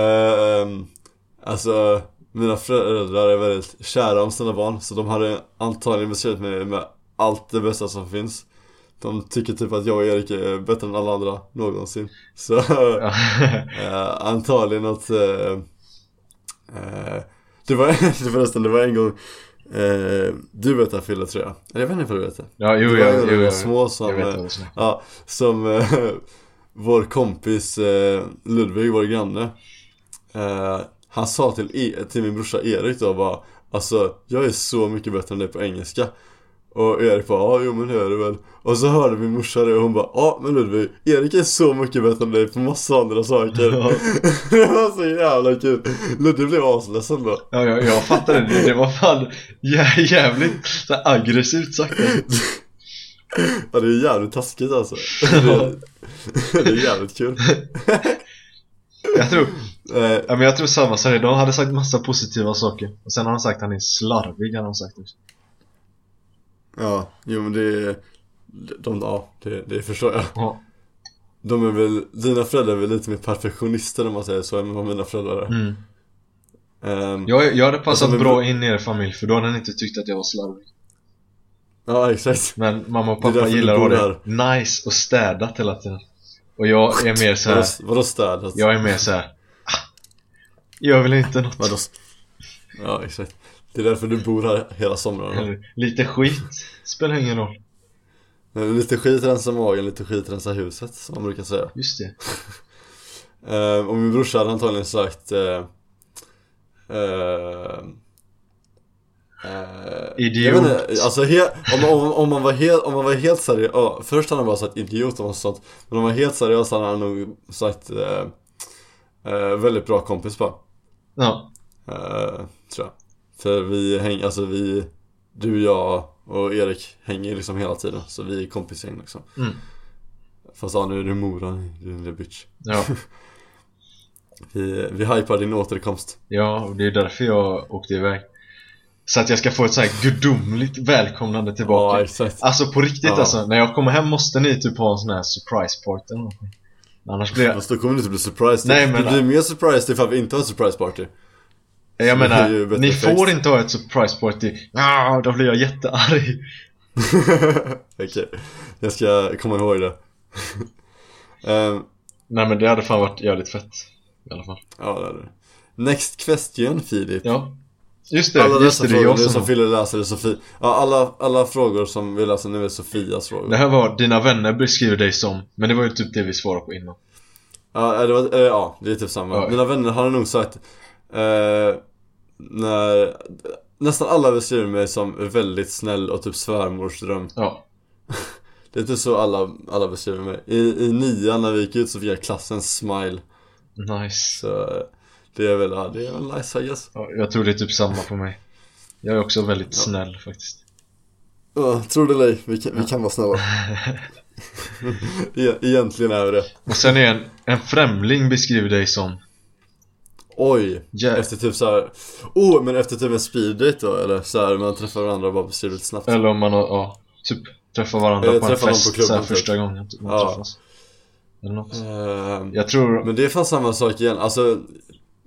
Ehm, Alltså mina föräldrar är väldigt kära om sina barn så de hade antagligen beskrivit mig med allt det bästa som finns De tycker typ att jag och Erik är bättre än alla andra någonsin Så ja. Eh, antagligen att... eh, eh, det var förresten, det var en gång eh, Du vet det här Fille tror jag, eller jag vet inte om du vet det? ja, jo, Det jo, var en jo, gång när jo, vi var jo. små Jag som, vet eh, vad du snackar ja, som eh, vår kompis eh, Ludvig, vår granne eh, Han sa till, e- till min brorsa Erik då bara Alltså, jag är så mycket bättre än dig på engelska och Erik bara ja jo men det är det väl Och så hörde min morsa det och hon bara ja men Ludvig Erik är så mycket bättre än dig på massa andra saker Ja. Det var så jävla kul Ludvig blev asledsen då Ja, jag, jag fattar det, det var fan jä- jävligt så här aggressivt sagt alltså. Ja det är jävligt taskigt alltså Det är, det är jävligt kul Jag tror, eh, ja, men jag tror samma sak idag, han hade sagt massa positiva saker Och sen har han sagt att han är slarvig, han har han sagt också Ja, jo men det de, ja, det, det förstår jag. Ja. De är väl, dina föräldrar är väl lite mer perfektionister om man säger så än vad mina föräldrar är. Mm. Ehm, Jag, jag hade passat Alltså, men- bra in i er familj för då hade ni inte tyckt att jag var slarvig ja, exakt. Men mamma och Det är pappa därför du gillar att ha bor det nice och städat hela tiden Och jag är mer så här. Vadå, vadå städat? jag är mer så här. "Ah, Gör väl inte något Vadå? Ja, exakt. Det är därför du bor här hela somrarna. Eller, Lite skit spelar ingen roll Men Lite skit rensar magen, lite skit rensar huset, som man brukar säga. Just det Eh, och min brorsa hade antagligen sagt eh, eh, eh, Idiot. jag vet inte, Alltså he- om, om, om man var helt, om man var helt seriös, ja, först hade han bara sagt idiot och sånt Men om man var helt seriös hade han nog sagt eh, eh, väldigt bra kompis bara Ja, eh, Tror jag För vi hänger, alltså vi, du, jag och Erik hänger liksom hela tiden Så vi är kompisgäng liksom Mm. Fast ja, nu är du Mora, du är en liten bitch ja, vi, vi hypar din återkomst. ja och det är därför jag åkte iväg Så att jag ska få ett så här gudomligt välkomnande tillbaka Ja, exakt. Alltså på riktigt Ja. alltså, när jag kommer hem måste ni typ ha en sån här surprise party eller någonting. Annars blir jag... Fast då kommer du inte bli surprised. Nej, men- du blir mer surprised ifall vi inte har en surprise party. Jag det är menar, ju bättre ni effekt. får inte ha ett surprise party. Ah, då blir jag jättearg. Okej, jag ska komma ihåg det. Ehm, Nej men det hade fan varit jävligt fett. I alla fall. ja, det är det. Next question Filip. Ja. Just det, alla dessa just det, det är frågor jag nu som som... Fille läser är Sofie. Ja, alla, alla frågor som vi läser nu är Sofias frågor. Det här var dina vänner beskriver dig som, men det var ju typ det vi svarade på innan. Ja, det, var, eh, ja, det är typ samma. Ja. Mina vänner hade nog sagt eh, när, Nästan alla beskriver mig som väldigt snäll och typ svärmorsdröm. Ja. Det är inte så alla, alla beskriver mig. I, I nian när vi gick ut så fick jag klassens smile. Nice. Så eh, det är väl, ja, det är väl nice I guess. Ja, jag tror det är typ samma på mig. Jag är också väldigt snäll faktiskt. Ja, tror det eller ej, vi kan, vi kan vara snälla. E- Egentligen är vi det. Och sen är en, en främling beskriver dig som... Oj! Yeah. Efter typ såhär, oh men efter typ en speeddate då eller såhär man träffar varandra och bara beskriver lite snabbt. Eller om man har, ja, typ träffar varandra Eller på en Eh, träffar någon fest på klubben, så här, typ. första gången typ, man Ja. träffas Eller något Ehm, Jag tror, Men det är fan samma sak igen, alltså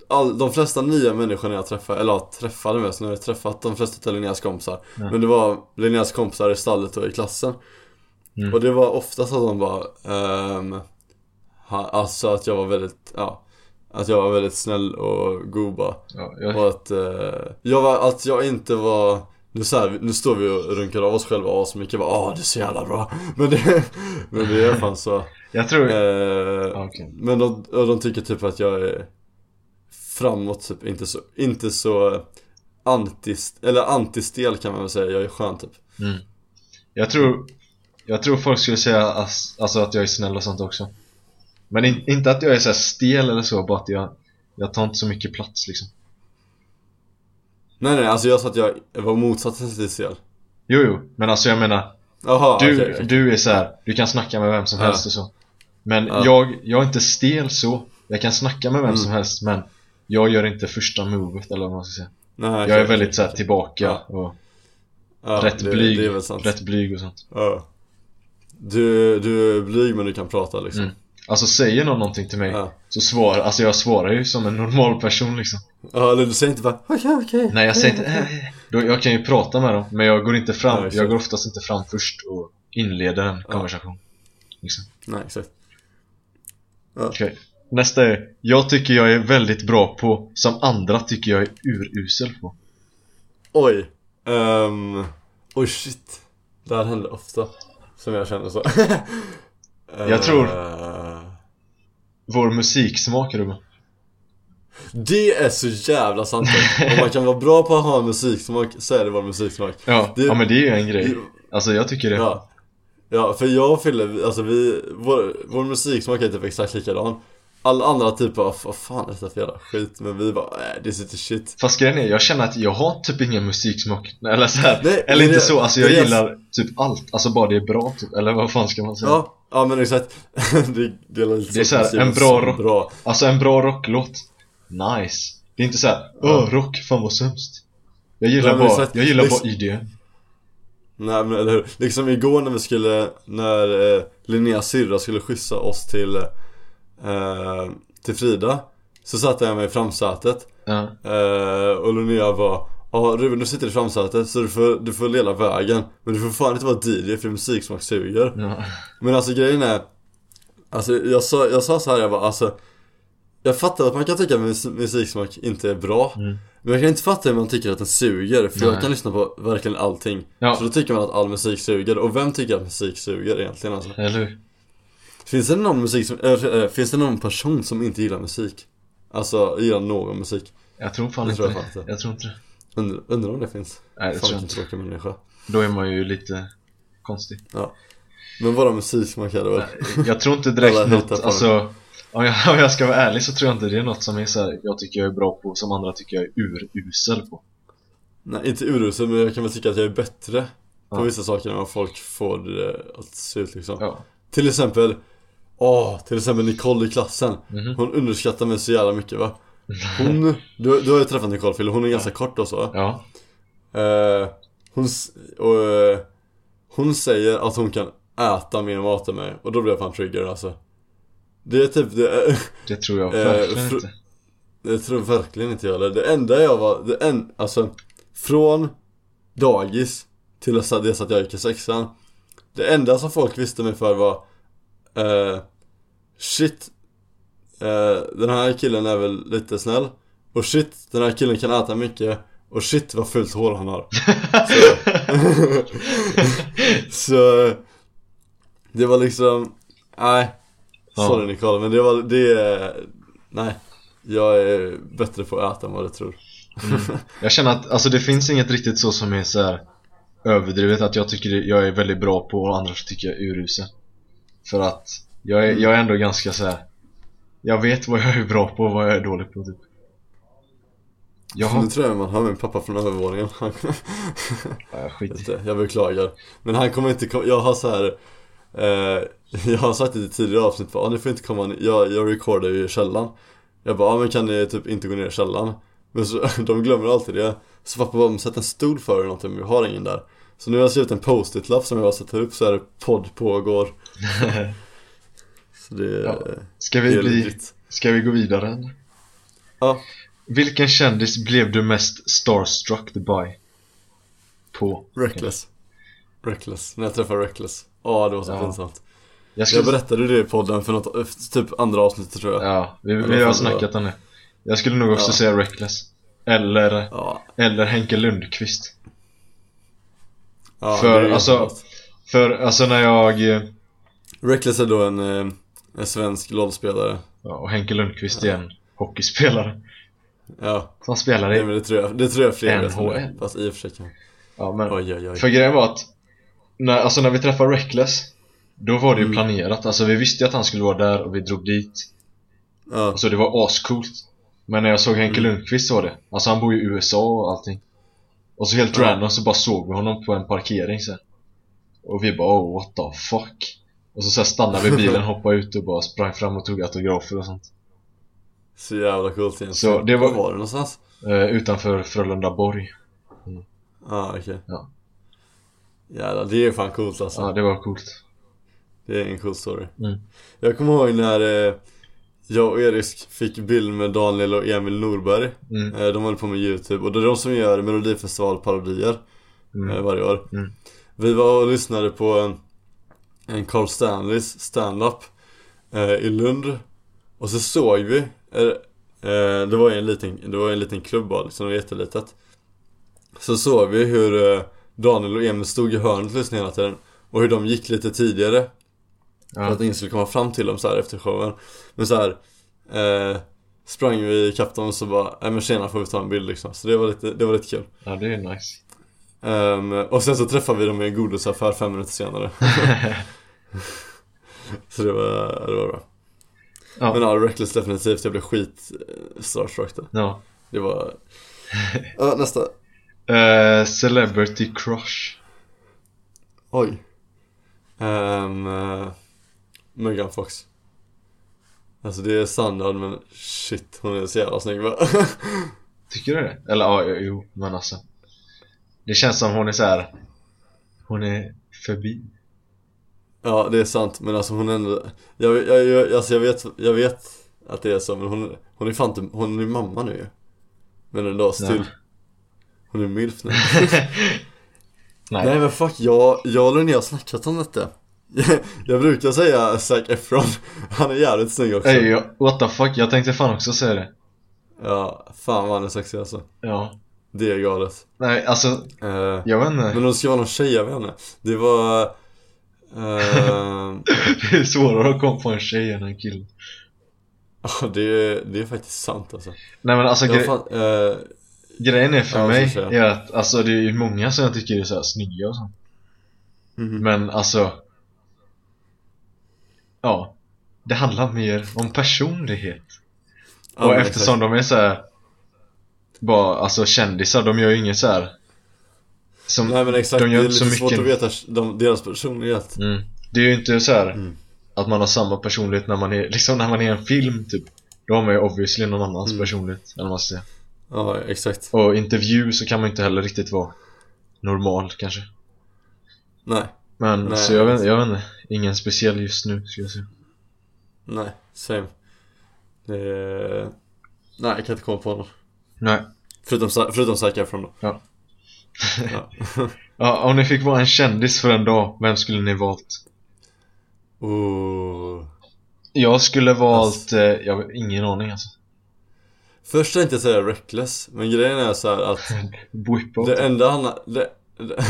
all, De flesta nya människorna jag träffade, eller jag träffade mest, nu har jag träffat de flesta av Linneas kompisar Ja. Men det var Linneas kompisar i stallet och i klassen Mm. Och det var oftast att de bara ehm, ha, Alltså att jag var väldigt, ja Att jag var väldigt snäll och god bara ja, jag, Och att, eh, jag var, att jag inte var nu, så här, nu står vi och runkar av oss själva asmycket, bara ah det är så jävla bra Men det, men det är fan så jag tror, eh, ja, okej. men de, och de tycker typ att jag är framåt typ, inte så, inte så antist, eller antistel kan man väl säga, jag är skön typ mm. jag tror, jag tror folk skulle säga ass, alltså att jag är snäll och sånt också Men in, inte att jag är så här stel eller så, bara att jag, jag tar inte så mycket plats liksom Nej nej, alltså jag sa att jag var motsatsen till stel Jo, jo, men alltså jag menar, Jaha, du, okej, okej. du är så här, du kan snacka med vem som Ja. helst och så Men Ja. jag, jag är inte stel så, jag kan snacka med vem Mm. som helst men jag gör inte första movet eller vad man ska säga Nej, Jag är okej. väldigt såhär tillbaka Ja. och ja, rätt, det, blyg, Det är väl sant rätt blyg och sånt ja. du, du är blyg men du kan prata liksom Mm. Alltså säger någon någonting till mig Ja, så svarar, alltså jag svarar ju som en normal person liksom ja eller du säger inte bara okej okej Nej jag säger inte "Eh, eh." då, jag kan ju prata med dem men jag går inte Ja, fram, exakt. jag går oftast inte fram först och inleder en Ja. konversation liksom. Nej exakt Okej. Nästa är, jag tycker jag är väldigt bra på, som andra tycker jag är urusel på Oj um, Oj shit Det här händer ofta Som jag känner så Jag tror- Eh, Vår musiksmak Ruben Det är så jävla sant Om man kan vara bra på att ha en musiksmak så är det vår musiksmak Ja, Det- ja men det är ju en grej Alltså jag tycker det Ja Ja, för jag och Fille, vi- alltså vi, vår, vår musiksmak är typ exakt likadan Alla andra typer av, vad fan är detta för jävla skit? Men vi bara, nej det sitter shit Fast grejen är, jag känner att jag har typ ingen musiksmak Eller så här, Nej, eller det- inte så, alltså det jag är- gillar typ allt Alltså bara det är bra typ, eller vad fan ska man säga? Ja, ja men exakt Det, det är, lite Det är så här, en bra rock- bra Alltså en bra rocklåt, nice Det är inte så här, åh Ja. rock, fan vad sämst Jag gillar Nej, men bara, exakt. jag gillar Liksom- bara IDM Nej men eller hur? Liksom igår när vi skulle, när eh, Linneas syrra skulle skjutsa oss till, eh, till Frida Så satte jag mig i framsätet Ja. eh, och Linnea bara Ja Ruben du sitter i framsätet så du får, du får leda vägen Men du får fan inte vara DJ för musiksmak suger Ja. Men alltså grejen är Alltså jag sa, jag sa så här jag bara alltså Jag fattar att man kan tycka att mus- musiksmak inte är bra Mm. Men jag kan inte fatta hur man tycker att den suger För Nej. jag kan lyssna på verkligen allting Ja. Så då tycker man att all musik suger Och vem tycker att musik suger egentligen alltså? Eller hur? Finns det någon musik som, äh, äh, finns det någon person som inte gillar musik? Alltså gillar någon musik? Jag tror fan Det inte tror jag det. fan inte. Jag tror inte det. Undrar, undrar om det finns? Nej, det Fan, tror jag vilken inte. tråkig människa Då är man ju lite konstig. Men bara musiksmak är det väl? Jag tror inte direkt Alla något, hatar folk. alltså om jag, om jag ska vara ärlig så tror jag inte det är något som är så här, jag tycker jag är bra på som andra tycker jag är urusel på. Nej inte urusel men jag kan väl tycka att jag är bättre Ja. På vissa saker än vad folk får det att se ut liksom Ja. Till exempel Åh, till exempel Nicole i klassen Mhm. Hon underskattar mig så jävla mycket va Hon, du, du har ju träffat Nicole Phil, hon är ganska kort och så Ja. eh, hon, s- och, eh, hon säger att hon kan äta mer mat än mig och då blir jag fan trigger alltså Det är typ det, Det tror jag Eh, verkligen fr- inte. det tror jag verkligen inte jag heller. Det enda jag var, det en, alltså Från dagis till dess att dess att jag gick i sexan Det enda som folk visste mig för var eh, Shit eh, Den här killen är väl lite snäll Och shit, den här killen kan äta mycket Och shit vad fult hår han har Så, så Det var liksom Nej Ja. Sorry Nicole, men det var, det är- Nej Jag är bättre på att äta än vad du tror Jag känner att alltså, det finns inget riktigt så som är så här överdrivet att jag tycker det- jag är väldigt bra på och andra tycker jag är urusel. För att jag är, jag är ändå ganska så här. jag vet vad jag är bra på och vad jag är dålig på typ. Jag har... Nu tror jag man hör min pappa från övervåningen Han- Äh, skit i. Just det, Jag beklagar Men han kommer inte komma, jag har så här. Eh, jag har sagt det i tidigare avsnitt, bara, ah, ni får inte komma ner." jag, jag recordar ju i källaren Jag bara, ah, men kan ni typ inte gå ner i källaren? Men så, de glömmer alltid det Så pappa bara, "Men sätt en stol för er eller någonting, men vi har ingen där Så nu har jag skrivit en post-it-lapp som jag sätter upp så är det podd pågår Så det, Ja, Ska det vi, är bli, legit ska vi gå vidare? eller? Ja, Vilken kändis blev du mest starstruck by? På? reckless Reckless, när jag träffade reckless Ja, det var så Ja. pinsamt Jag Jag skulle... berättade det i podden för något, efter typ andra avsnittet tror jag Ja, vi, Ja, vi det har var- snackat om det. Jag skulle nog också Ja. säga Reckless. Eller, Ja, eller Henke Lundqvist. ja För, det är alltså- jättebra. För alltså när jag, eh, Reckless är då en, eh, en svensk LOL-spelare ja, och Henke Lundqvist är en hockeyspelare Ja, som spelar nej i, men det tror jag, det tror jag fler vet om det. NHL. Fast i och för sig kan ja men Oj oj oj För grejen var att när, alltså när vi träffade Reckless Då var det ju Mm. planerat, alltså vi visste ju att han skulle vara där och vi drog dit ja, Alltså det var ascoolt Men när jag såg Henke Mm. Lundqvist så var det, alltså han bor ju i USA och allting Och så helt Ja. random så bara såg vi honom på en parkering sen Och vi bara oh, what the fuck Och så, så här stannade vi bilen, hoppade ut och bara sprang fram och tog autografer och sånt Så jävla coolt egentligen Så det var- Var var det någonstans? eh, Utanför Frölunda Borg Ja ah, okej Ja. Jävlar, det är fan coolt alltså Ja det var coolt Det är en cool story Mm. Jag kommer ihåg när eh, jag och Erik fick bild med Daniel och Emil Norberg Mm. Eh, De håller på med YouTube och det är de som gör melodifestivalparodier Mm. eh, varje år Mm. Vi var och lyssnade på en, en Carl Stanleys stand-up eh, i Lund Och så såg vi, eh, eh, det var ju en liten, det var ju en liten klubb bara liksom, det var jättelitet Så såg vi hur eh, Daniel och Emil stod i hörnet och lyssnade hela tiden Och hur de gick lite tidigare för Ja. att ingen skulle komma fram till dem så här efter showen Men så här eh, Sprang vi ikapp dem och så bara Nej men tjena får vi ta en bild liksom Så det var lite, det var lite kul ja det är nice Ehm, Och sen så träffade vi dem i en godisaffär fem minuter senare Så det var, det var bra Ja. Men ja, Reckless definitivt, jag blev skit eh, starstruck där Ja. Det var Ja, nästa Eh, celebrity crush. Oj Ehm, eh, Megan Fox Alltså det är standard men shit hon är så jävla snygg va? Tycker du det? Eller ja, jo, men alltså. Det känns som hon är så här. Hon är förbi. Ja, det är sant, men alltså hon ändå Jag, jag, jag, alltså jag, vet, jag vet att det är så, men hon, hon är fan inte, hon är mamma nu ju Men en dag still Nej. Hon är milf nu Nej. Nej men fuck, jag, jag och Linnea har snackat om detta Jag, jag brukar säga Zac Efron, han är jävligt snygg också Ey, jag- what the fuck, jag tänkte fan också säga det. Ja, fan vad han är sexig alltså Ja. Det är galet Nej, alltså, Eh, jag vet inte. Men de ska vara någon tjej, jag vet inte Det var... eh, Det är svårare att komma på en tjej än en kille. ja, det, är- det är faktiskt sant alltså Nej men alltså, Jag gre- fan, eh, grejen är för Ja, så mig säger jag. är att alltså, det är ju många som jag tycker är så här snygga och sånt. mhm. Men alltså Ja Det handlar mer om personlighet Ja, Och men eftersom exakt. de är så här, Bara alltså kändisar, de gör ju inget så här. Som, Nej men exakt, de det gör är inte lite så svårt mycket att veta de, deras personlighet mm. Det är ju inte så här Mm. Att man har samma personlighet när man är, liksom när man är i en film typ Då har man ju obviously någon annans Mm. personlighet eller vad man ska säga. Ja, exakt Och intervju så kan man ju inte heller riktigt vara normal kanske Nej, Men Nej. så jag vet, jag vet inte, ingen speciell just nu ska jag säga nej, same det är... Nej, jag kan inte komma på någon Nej Förutom, Sa- förutom Zac Efron då Ja. ja. Ja, om ni fick vara en kändis för en dag, vem skulle ni valt? Ooh. Jag skulle valt, Alltså. eh, jag har ingen aning alltså Först tänkte jag säga reckless, men grejen är så här att Whippo det enda han... Det, det,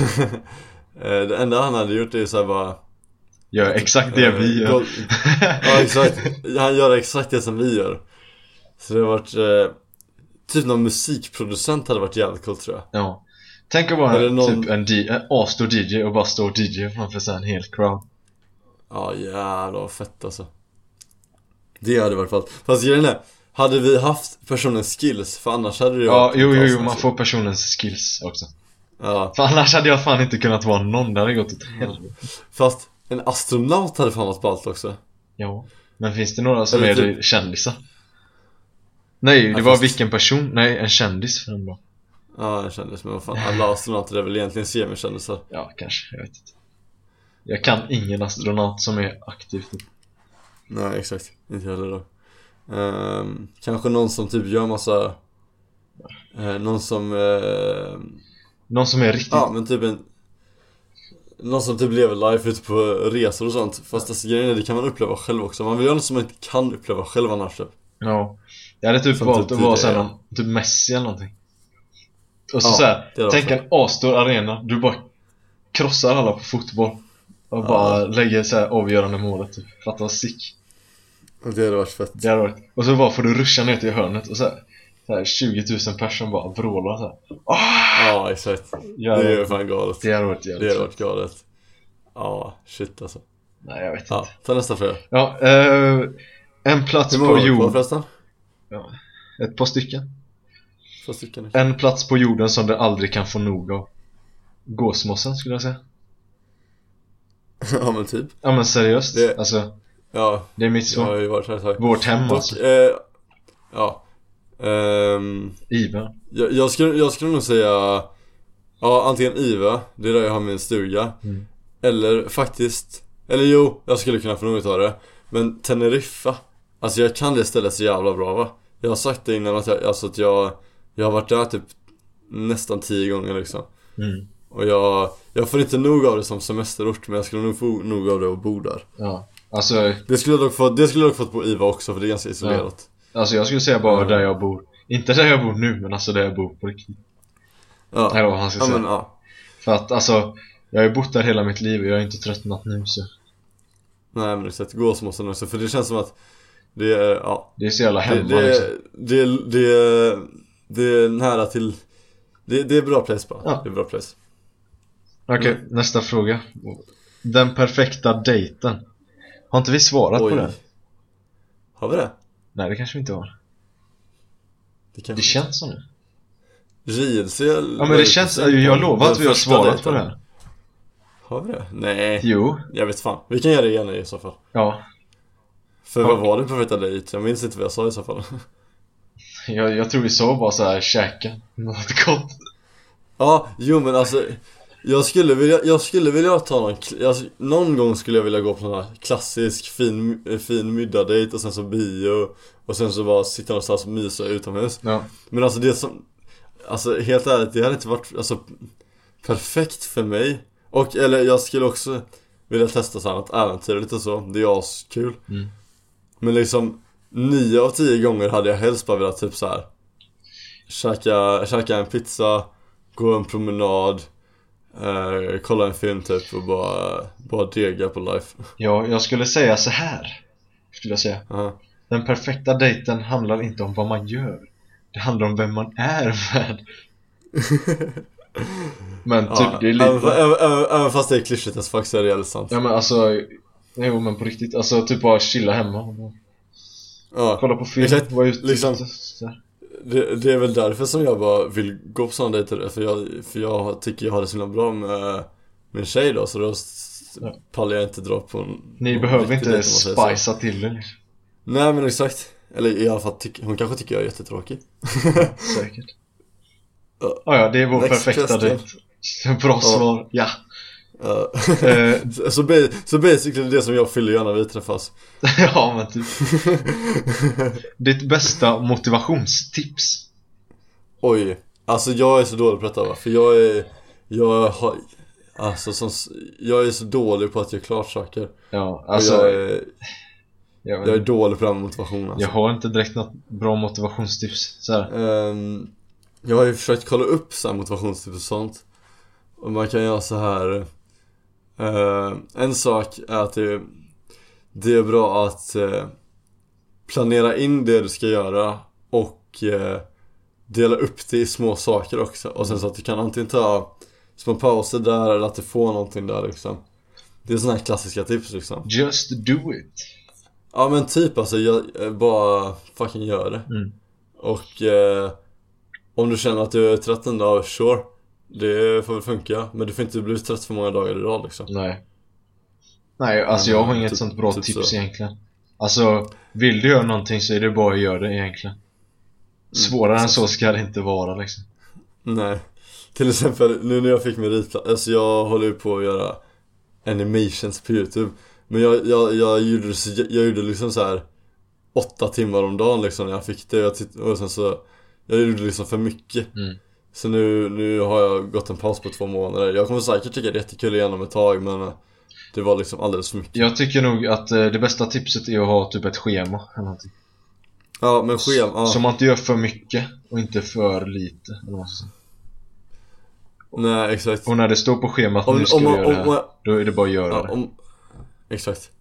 eh, det enda han hade gjort är så här bara... Gör exakt det eh, vi gör gol- Ja exakt, han gör exakt det som vi gör Så det har varit, eh, typ någon musikproducent hade varit jävligt coolt tror jag Ja Tänk att vara Eller någon- typ en, D- en asstor DJ och bara stå och DJ framför sig en hel crowd Ja jävlar vad fett alltså Det hade varit fallet, fast grejen är, hade vi haft personens skills? För annars hade det ju Ja, varit jo, jo, jo, fantastiskt. man får personens skills också Ja, För annars hade jag fan inte kunnat vara någon, det hade gått åt helvete fast en astronaut hade fan varit ballt också Ja Men finns det några som Eller är typ- kändisar? Nej, det Ja, var fast- vilken person? Nej, en kändis för en dag Ja jag kändes men vad fan, alla astronauter är väl egentligen semikändisar Ja, kanske. Jag vet inte. Jag kan ingen astronaut som är aktiv. Nej exakt, inte heller då Ehm, Kanske någon som typ gör massa eh, Någon som eh, Någon som är riktigt... Ja men typ en Någon som typ lever life ute på resor och sånt Fast alltså, grejen är det kan man uppleva själv också Man vill göra något som man inte kan uppleva själv annars typ. Ja. Jag hade typ Som valt typ att vara tidigare, såhär, någon, typ Messi eller någonting. Och så Ja, såhär, det hade tänk varit en asstor arena. Du bara krossar alla på fotboll. Och Ja. bara lägger såhär avgörande målet typ. Fattar vad sick. Det hade varit fett Det hade varit. Och så bara får du ruscha ner till hörnet och såhär. Så här 20 000 personer bara vrålar såhär. Ja exakt Det är Det, ju fan galet det hade varit Det jävligt hade fett. varit galet Ja, shit alltså Nej jag vet inte. Ja, ta nästa fråga Ja, eh, en plats Hur många var Alltså, på det kvar jorden. förresten? Ett par stycken. Två stycken En plats på jorden som du aldrig kan få nog av. Gåsmossen skulle jag säga. Ja men typ Ja men seriöst. Det- Alltså, Ja, det är mitt jag svar. har ju varit här ett tag Vårt hem alltså. Dock, eh, Ja Ehm Ivan. Jag, jag, skulle, jag skulle nog säga Ja, antingen IVA, det är där jag har min stuga Mm. Eller faktiskt Eller jo, jag skulle kunna få något av det Men Teneriffa Alltså jag kan det stället så jävla bra va Jag har sagt det innan att jag, alltså att jag Jag har varit där typ Nästan tio gånger liksom Mm. Och jag, jag får inte nog av det som semesterort Men jag skulle nog få nog av det och bo där Ja. Alltså, Det skulle jag dock få, det skulle jag dock fått på IVA också för det är ganska isolerat alltså jag skulle säga bara Mm. där jag bor. Inte där jag bor nu men alltså där jag bor på riktigt. Ja, Eller vad han ska ja säga. men ja För att alltså, jag har ju bott där hela mitt liv och jag har inte tröttnat nu så. Nej men exakt, gåsmossen också för det känns som att Det är, ja Det är så jävla Det, hemma liksom. det, det, det, det är nära till Det, det är bra press bara, Ja. det är bra press Okej, Mm. nästa fråga. Den perfekta dejten. Har inte vi svarat på den? Har vi det? Nej det kanske vi inte har. Det kan Det känns som det. JLC Ja men det känns, jag lovar att vi har svarat på det här. Har vi det? Nej, Jo, jag vet fan Vi kan göra det igen i så fall ja. För Ja. vad var det perfekta dejt? Jag minns inte vad jag sa i så fall Jag, jag tror vi sa bara så här käka något gott. Ja, jo men alltså Jag skulle vilja, jag skulle vilja ta någon, kl- jag, någon gång skulle jag vilja gå på sån här klassisk fin, eh, fin middagdejt och sen så bio och sen så bara sitta någonstans och mysa utomhus. Ja. Men alltså det som, alltså helt ärligt det hade inte varit, alltså perfekt för mig. Och eller jag skulle också vilja testa så här något äventyrligt och så, det är askul. Mm. Men liksom nio av tio gånger hade jag helst bara velat typ så här. Käka, käka en pizza, gå en promenad, eh, kolla en film typ och bara, bara dega på life. ja, jag skulle säga så här Skulle jag säga Ja. Den perfekta dejten handlar inte om vad man gör Det handlar om vem man är med Men typ, Ja, alltså- det är även, lite även, även, även fast det är klyschigt as fuck så är det jävligt sant. Ja men alltså Jo men på riktigt, alltså typ bara chilla hemma och bara Ja. kolla på film, Exakt, vara ute liksom. ute, så här. Det, det är väl därför som jag bara vill gå på sådana dejter för jag, för jag tycker jag har det så himla bra med min tjej då så då s- Ja. pallar jag inte dra på en Ni en behöver riktig dejt, inte om man säger så. spicea till det liksom. Nej men exakt Eller i alla fall, tyck- hon kanske tycker jag är jättetråkig Säkert Ja. ah, ja, det är vår Next perfekta question. dejt Bra svar, ja! Ja. Eh, Så- så, ba- så basically det som jag fyller gör när vi träffas ja men typ Ditt bästa motivationstips? Oj, alltså jag är så dålig på detta va För jag är, jag har, alltså som, s- jag är så dålig på att göra klart saker Ja, alltså, alltså jag, är, jag, vet jag är inte. dålig på det här med motivation alltså. jag har inte direkt något bra motivationstips så här. Ehm, jag har ju försökt kolla upp så här motivationstips och sånt. Och man kan göra så här. ehm, en sak är att det, det är bra att eh, planera in det du ska göra och eh, dela upp det i små saker också. Och sen så att du kan antingen ta små pauser där eller att du får någonting där liksom. Det är sådana här klassiska tips liksom. Just do it! Ja men typ alltså, jag, eh, bara fucking gör det. Mm. Och eh, om du känner att du är trött en dag, sure. Det får väl funka. Men du får inte bli trött för många dagar i rad liksom. Nej Nej, alltså jag har Mm, inget typ- sånt bra typ tips så. egentligen Alltså, vill du göra någonting så är det bara att göra det egentligen Mm, Svårare än så ska det inte vara liksom Nej. Till exempel nu när jag fick meritplats, alltså jag håller ju på att göra animations på youtube. Men jag, jag, jag, gjorde, så- jag gjorde liksom så här åtta timmar om dagen liksom när jag fick det. Jag titt- och sen så, jag gjorde liksom för mycket. Mm. Så nu, nu har jag gått en paus på två månader. Jag kommer säkert tycka det är jättekul igen om ett tag men eh, det var liksom alldeles för mycket. Jag tycker nog att eh, det bästa tipset är att ha typ ett schema eller någonting. Ja men schema, ja. Så man inte gör för mycket och inte för lite eller vad man ska säga. Nej exakt. Och när det står på schemat Om, nu ska om, du man- göra om, det här, man- då är det bara att göra ja, om, Exakt.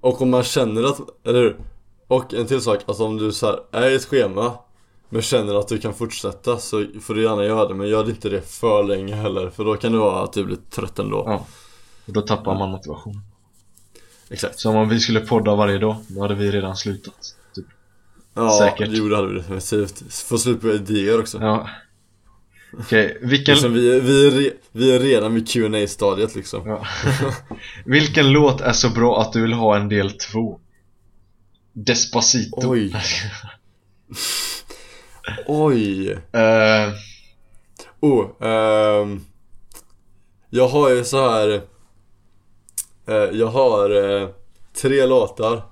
Och om man känner att, eller hur? Och en till sak, alltså om du så här är i ett schema men känner att du kan fortsätta så får du gärna göra det men gör inte det för länge heller för då kan det vara att du blir trött ändå. Ja. det. Och då tappar man motivation. Exakt. Som om vi skulle podda varje dag, då hade vi redan slutat. Typ. Ja, Säkert. Jo det hade vi definitivt. Få slut på idéer också. Ja. Okej, vilken, Liksom, vi, är- vi, är re, vi är redan vid qa stadiet liksom. ja. vilken låt är så bra att du vill ha en del två? Despacito. Oj. Oj. Eh, Oh, ehm, jag har ju så här. Eh, jag har eh, tre låtar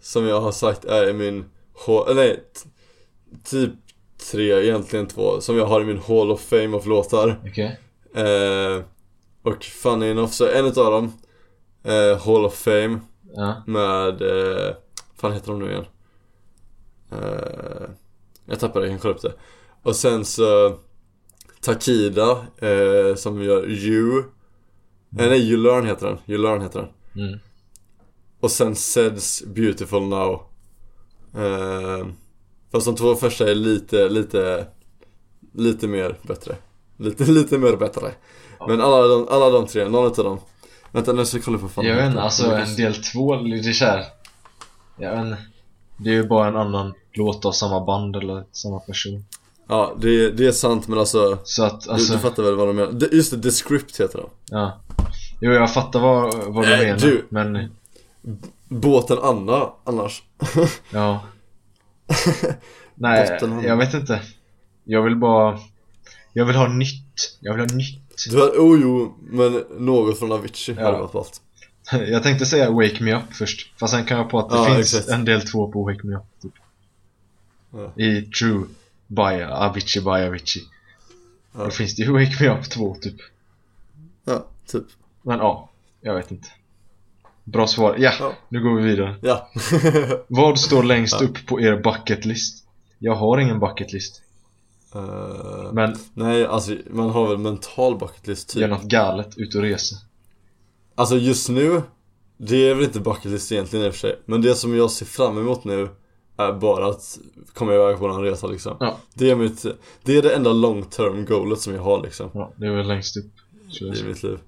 som jag har sagt är i min H- eller nej, t- typ tre, egentligen två, som jag har i min Hall of Fame of låtar. Okej. Eh, och funny enough så är en utav dem eh, Hall of Fame Ja. med, eh, fan heter de nu igen? Eh, jag tappade det, jag kan kolla upp det. Och sen så Takida eh, som gör You. Eh, nej, You Learn heter den. You Learn heter den. Mm. Och sen Seds Beautiful Now. Eh, fast de två första är lite, lite, lite mer bättre. Lite, lite mer bättre. Men alla de, alla de tre, någon utav dem. Vänta nu ska jag kolla på fan Jag vet inte, heter. alltså en del två, det är såhär Jag vet inte Det är ju bara en annan låt av samma band eller samma person Ja, det, det är sant men alltså Så att Du, alltså, du fattar väl vad de menar? Det- Just det, The Script heter de ja Jo jag fattar vad, vad du Eh, menar du- men Båten Anna annars ja Nej, Botten- jag vet inte Jag vill bara Jag vill ha nytt Jag vill ha nytt Du hade, oh jo, men något från Avicii Ja. hade varit ballt Jag tänkte säga Wake Me Up först, fast sen kan jag på att det Ja, finns exakt. en del två på Wake Me Up typ. Ja. I True by Avicii by Avicii. Ja. Då finns det ju Wake Me Up 2 typ. Ja, typ Men ja, jag vet inte. Bra svar. Ja, Ja. nu går vi vidare. Ja Vad står längst Ja. upp på er bucket list? Jag har ingen bucket list, Eh, men Nej, alltså man har väl mental bucket list typ gör något galet, ut och resa. Alltså just nu, det är väl inte bucket list egentligen i och för sig Men det som jag ser fram emot nu är bara att komma iväg på en resa liksom Ja. Det är mitt, det är det enda long term goalet som jag har liksom Ja, det är väl längst upp. skulle jag i säga. mitt liv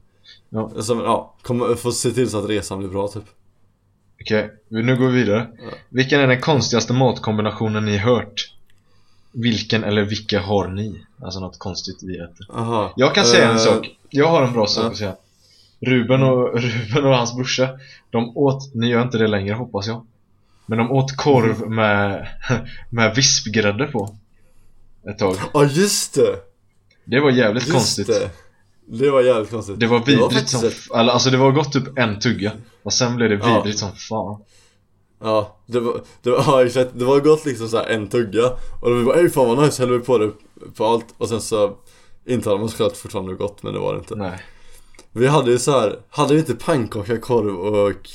Ja. Som, ja, komma, få se till så att resan blir bra typ Okej, nu går vi vidare. Ja. Vilken är den konstigaste matkombinationen ni hört? Vilken eller vilka har ni? Alltså något konstigt vi äter. Aha. Jag kan säga Eh, en sak. Jag har en bra sak ja. att säga. Ruben och, Ruben och hans brorsa, de åt, ni gör inte det längre hoppas jag. Men de åt korv Mm. med, med vispgrädde på. Ett tag. Ja just det! Det var jävligt Just konstigt. det! Det var jävligt konstigt Det var Det var vidrigt faktiskt som ett- f- eller, Alltså det var gott typ en tugga. Och sen blev det Ja. vidrigt som fan. Ja, det var, det var, ja exakt, det var gott liksom så här en tugga Och då vi bara 'Ey fan vad nice' hällde vi på det på allt Och sen så intalade man såklart fortfarande det var gott men det var det inte Nej. Vi hade ju så här, hade vi inte pannkaka, korv och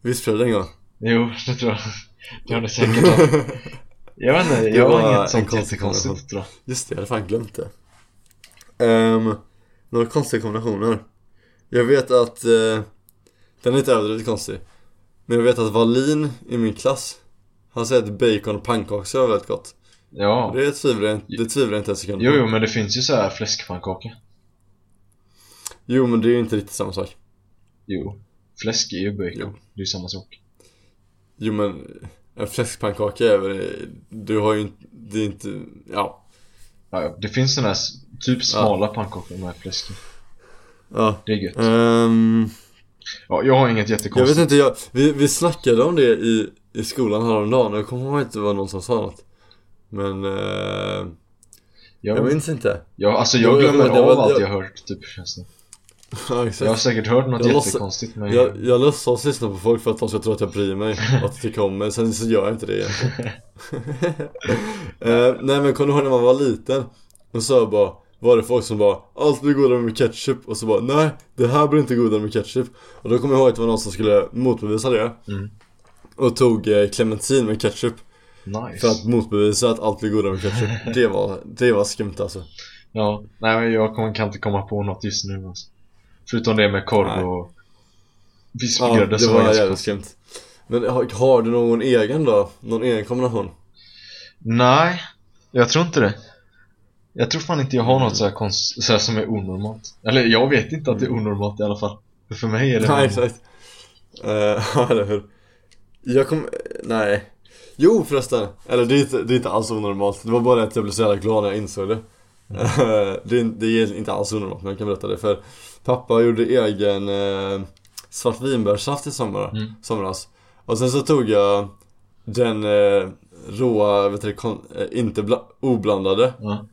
vispgrädde en gång? Jo, det tror jag. Det har det säkert varit. Jag vet inte, jag var har en inget sånt konstig jättekonstigt kombination. tror Just det, jag hade fan glömt det Ehm, Några konstiga kombinationer Jag vet att, eh, den är inte överdrivet konstig Men jag vet att Valin i min klass Han säger att bacon och pannkaksrör är väldigt gott jag. Ja. Och det tvivlar jag, det tvivlar jag inte en sekund Jo, på. jo, men det finns ju så här fläskpannkaka. jo men det är ju inte riktigt samma sak Jo. Fläsk är ju bacon. Jo. Det är ju samma sak. Jo men en fläskpannkaka är väl, du har ju inte, det är inte, ja Ja, ja. Det finns såna här s- typ smala pannkakor med fläsk i. Ja, Det är gött. ehm, Ja, jag har inget jag vet jättekonstigt. inte, jag, vi, vi snackade om det i, i skolan häromdagen och jag kommer ihåg att det var någon som sa något Men, eh, Jag, jag jag, minns inte alltså Jo, jag jag glömmer vet, jag av vet, allt jag- jag hört typ känns det. Ja Jag har exakt säkert hört något Jag låtsas- jättekonstigt men... Jag, jag låtsas lyssna på folk för att de ska tro att jag bryr mig och att det kommer, sen så gör jag inte det egentligen eh, Nej men kommer du ihåg när man var liten? Och så bara, var det folk som bara Allt blir godare med ketchup och så bara Nej, det här blir inte godare med ketchup Och då kommer jag ihåg att det var någon som skulle motbevisa det Mm. Och tog eh, clementin med ketchup Nice. För att motbevisa att allt blir godare med ketchup Det var, det var skumt alltså Ja, nej men jag kommer- kan inte komma på något just nu alltså. Förutom det med korv Nej. och Ja, vispgrädde det som var var ganska jävligt skumt Men har, har du någon egen då? Någon egen kombination? Nej, jag tror inte det. Jag tror fan inte jag har något så här, konst, så här som är onormalt. Eller jag vet inte att det är onormalt i alla fall. För, för mig är det Nej exakt Eh, Ja eller hur Jag kom, nej Jo förresten, eller det är, inte, det är inte alls onormalt Det var bara att jag blev så jävla glad när jag insåg det Eh, det, är, det är inte alls onormalt men jag kan berätta det för Pappa gjorde egen eh, svartvinbärssaft i sommar, Mm. somras Och sen så tog jag den eh, råa, vet du, kon, eh, inte bla, oblandade Ja.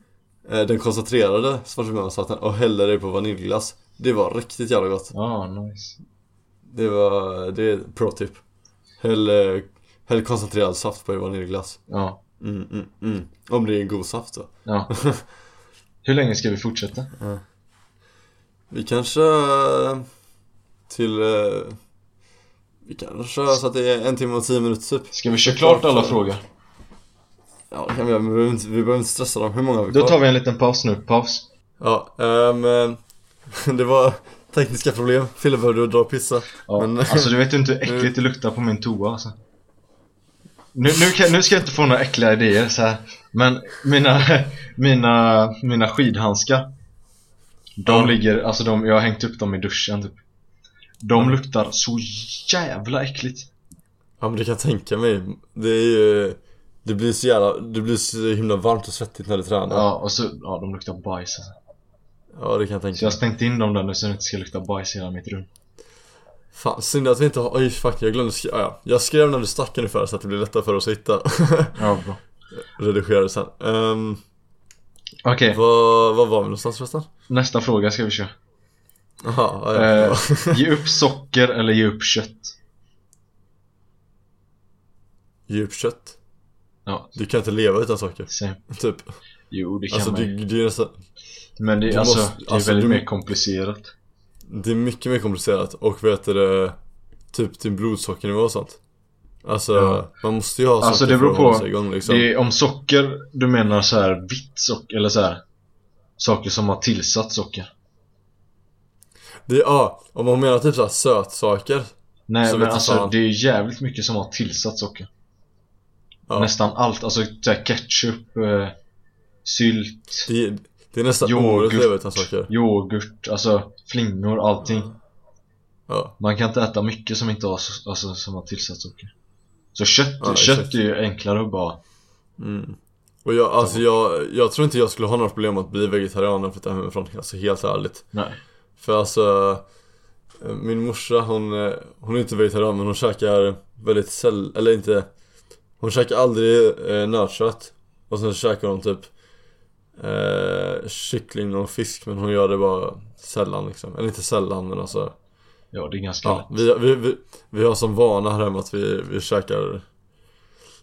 eh, Den koncentrerade svartvinbärssaften och hällde det på vaniljglass Det var riktigt jävla gott Ah, nice. det var, det är pro-tip häll, eh, häll koncentrerad saft på i vaniljglass Ja, mm, mm, mm. Om det är en god saft då ja. Hur länge ska vi fortsätta? Vi kanske eh, till eh, Vi kanske kör så att det är en timme och tio minuter typ Ska vi köra klart alla frågor? Ja det kan vi göra, men vi behöver inte, vi behöver inte stressa dem, hur många har vi Då kvar? tar vi en liten paus nu. Paus. Ja, ehm, eh, det var tekniska problem, Fille behövde dra och pissa Ja. Men- Alltså du vet ju inte hur äckligt det luktar på min toa alltså. Nu, nu, kan, nu ska jag inte få några äckliga idéer så här. Men mina, mina, mina skidhandskar De Ja. ligger, alltså de, jag har hängt upp dem i duschen typ De Ja. luktar så jävla äckligt Ja men det kan jag tänka mig, det är ju Det blir så jävla, det blir så himla varmt och svettigt när du tränar Ja och så, ja de luktar bajs alltså. ja det kan jag tänka Så jag har stängt in dem där nu så det inte ska lukta bajs i hela mitt rum Fan, synd att vi inte har... Oj, fuck, jag glömde skriva. Ja, jag skrev när du stack ungefär så att det blir lättare för oss att hitta. Ja bra Redigerade sen. Ehm, Okej, Vad, vad var vi någonstans förresten? nästa fråga ska vi köra Jaha, ja, Eh, ja. Ge upp socker eller ge upp kött? Djupkött. Ja, Du kan inte leva utan socker. same. Typ. Jo det kan Alltså, man du, ju det, är nästan, Men det, du alltså, måste- det är alltså, väldigt du- mer komplicerat det är mycket mer komplicerat. Och vet du det, typ din blodsockernivå och sånt. Alltså, Ja. man måste ju ha socker Alltså, det beror för att hålla på. sig igång liksom. det är, Om socker, du menar så här vitt socker, eller så här Saker som har tillsatt socker Det är, ja, om man menar typ såhär sötsaker. Nej Så men vet alltså fan. det är jävligt mycket som har tillsatt socker Ja. Nästan allt, alltså så här ketchup, eh, sylt, Det, är- det är nästan omöjligt att leva utan yoghurt, socker. yoghurt, alltså flingor, allting Ja. Man kan inte äta mycket som inte har, så- alltså, som har tillsatt socker Så kött, Ja, kött exakt. är ju enklare att bara Mm. Och jag, alltså jag, jag tror inte jag skulle ha några problem att bli vegetarian och flytta hemifrån. Alltså helt ärligt. Nej För alltså eh, Min morsa hon, eh, hon är inte vegetarian men hon käkar väldigt säll, eller inte Hon käkar aldrig eh, nötkött Och sen käkar hon typ eh, Kyckling och fisk men hon gör det bara sällan liksom Eller inte sällan men alltså Ja det är ganska ja, lätt vi, vi, vi, vi har som vana här hemma att vi, vi käkar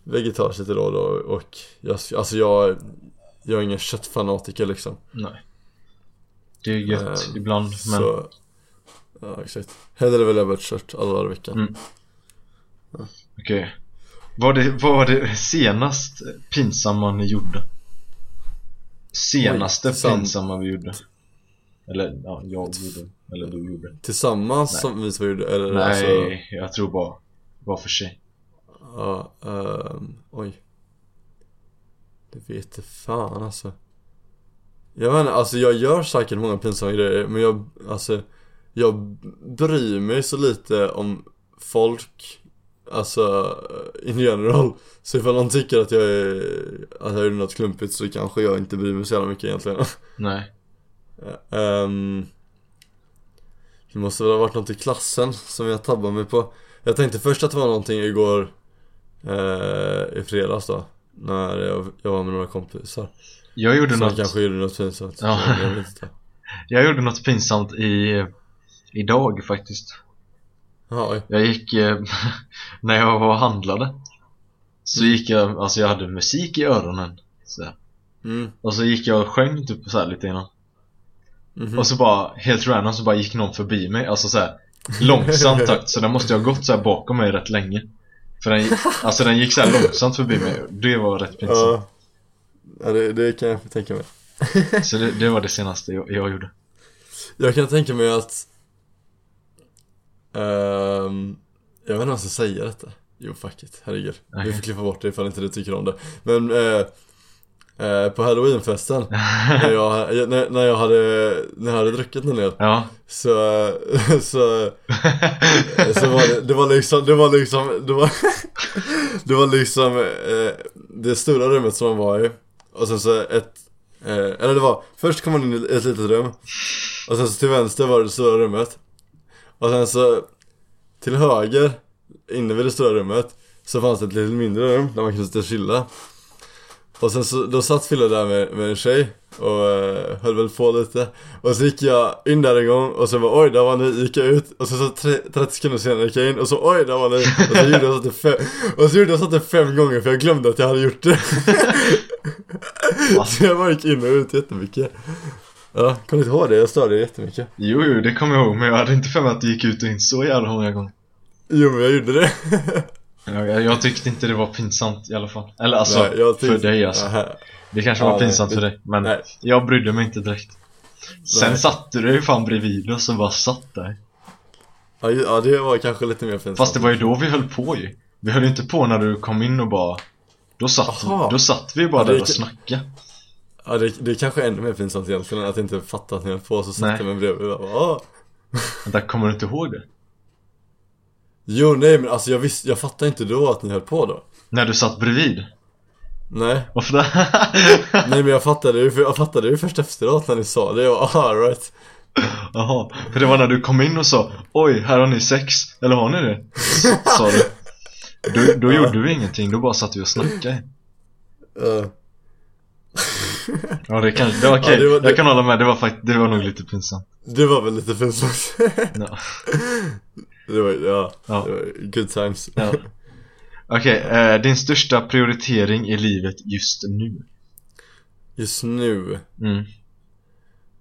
Vegetariskt lite då och då och jag, alltså jag Jag är ingen köttfanatiker liksom Nej Det är gött Ehm, ibland men Så, ja exakt. Hellre väl över ett kört alla dagar i veckan. Mm. Okej. Vad, det, vad var det senast pinsamma ni gjorde? Senaste Oj, sam- pinsamma vi gjorde? Eller ja, jag gjorde. Eller du gjorde. Tillsammans Nej. som vi som gjorde, eller Nej, alltså, jag tror bara var för sig. ja, ehm, oj. Det vet fan alltså. Jag menar, alltså jag gör säkert många pinsamma grejer, men jag, alltså, jag bryr mig så lite om folk, alltså in general. Så ifall någon tycker att jag är, att jag gjorde något klumpigt så kanske jag inte bryr mig så jävla mycket egentligen. Nej. Ehm, det måste väl ha varit något i klassen som jag tabbade mig på. Jag tänkte först att det var någonting igår eh, i fredags då. När jag, jag var med några kompisar. Jag gjorde, Som något, kanske gjorde något pinsamt. Ja. Jag vet inte. jag gjorde något pinsamt i idag faktiskt. Ja, oj. Jag gick, eh, när jag var och handlade Så gick jag, alltså jag hade musik i öronen så här. Mm. Och så gick jag och sjöng typ så här lite innan mhm. Och så bara, helt random så bara gick någon förbi mig, alltså så här långsam takt så den måste ju ha gått så här bakom mig rätt länge För den, alltså den gick så här långsamt förbi mig, det var rätt pinsamt Ja. Ja, det, det kan jag tänka mig. Så det, det var det senaste jag, jag gjorde Jag kan tänka mig att... ehm, jag vet inte om jag ska säga detta. Jo, fuck it. Herregud. Vi får Okej. klippa bort det ifall inte du tycker om det. Men eh, eh, på halloweenfesten, när, jag, när, när, jag hade, när jag hade druckit en del, Ja, så, så, så var det, det var liksom, det var liksom, det var, det var liksom eh, det stora rummet som man var i. Och sen så ett, eh, eller det var, först kom man in i ett litet rum. Och sen så till vänster var det det stora rummet. Och sen så till höger, inne vid det stora rummet, så fanns det ett lite mindre rum där man kunde sitta och chilla. Och sen så, då satt Fille där med, med en tjej och eh, höll väl på lite Och så gick jag in där en gång och så bara oj där var ni, gick jag ut och så, så tre, 30 sekunder senare gick jag in och så oj där var ni Och så gjorde jag så att det fem, och så gjorde jag så att det fem gånger för jag glömde att jag hade gjort det Så jag bara gick in och ut jättemycket Ja, kommer inte ihåg det, jag störde jättemycket jo, jo det kommer jag ihåg men jag hade inte för mig att det gick ut och in så jävla många gånger Jo men jag gjorde det Ja, jag, jag tyckte inte det var pinsamt i alla fall Eller alltså, Nej, jag för tyckte- dig alltså Aha. Det kanske Ja, var nej, pinsamt det- för dig, men nej. jag brydde mig inte direkt Sen Nej. satte du dig fan bredvid oss och bara satt där Ja, ju- Ja det var kanske lite mer pinsamt Fast det var ju då vi höll på ju Vi höll ju inte på när du kom in och bara Då satt, Aha. då satt vi ju bara Ja, det typ- där gick- och snackade Ja det, det är kanske ännu mer pinsamt egentligen att inte fatta att ni höll på så Nej. satt jag mig bredvid och bara "Ah." "Åh." Vänta, kommer du inte ihåg det? Jo nej men alltså jag visste, jag fattade inte då att ni höll på då När du satt bredvid? Nej, Varför det? nej men jag fattade ju, för jag fattade ju först efteråt när ni sa det, jag bara "Ah, right Jaha, för det var när du kom in och sa Oj, här har ni sex, eller har ni det? S- Sa du Då, då Ja. gjorde vi ingenting, då bara satt vi och snackade Eh. Ja det kan, det var okej, Ja, det var- det- jag kan hålla med, det var fakt- det var nog lite pinsamt Det var väl lite pinsamt? Ja. det var ja, Ja. Det var good times. Ja. Okej, eh, din största prioritering i livet just nu? Just nu. Mm.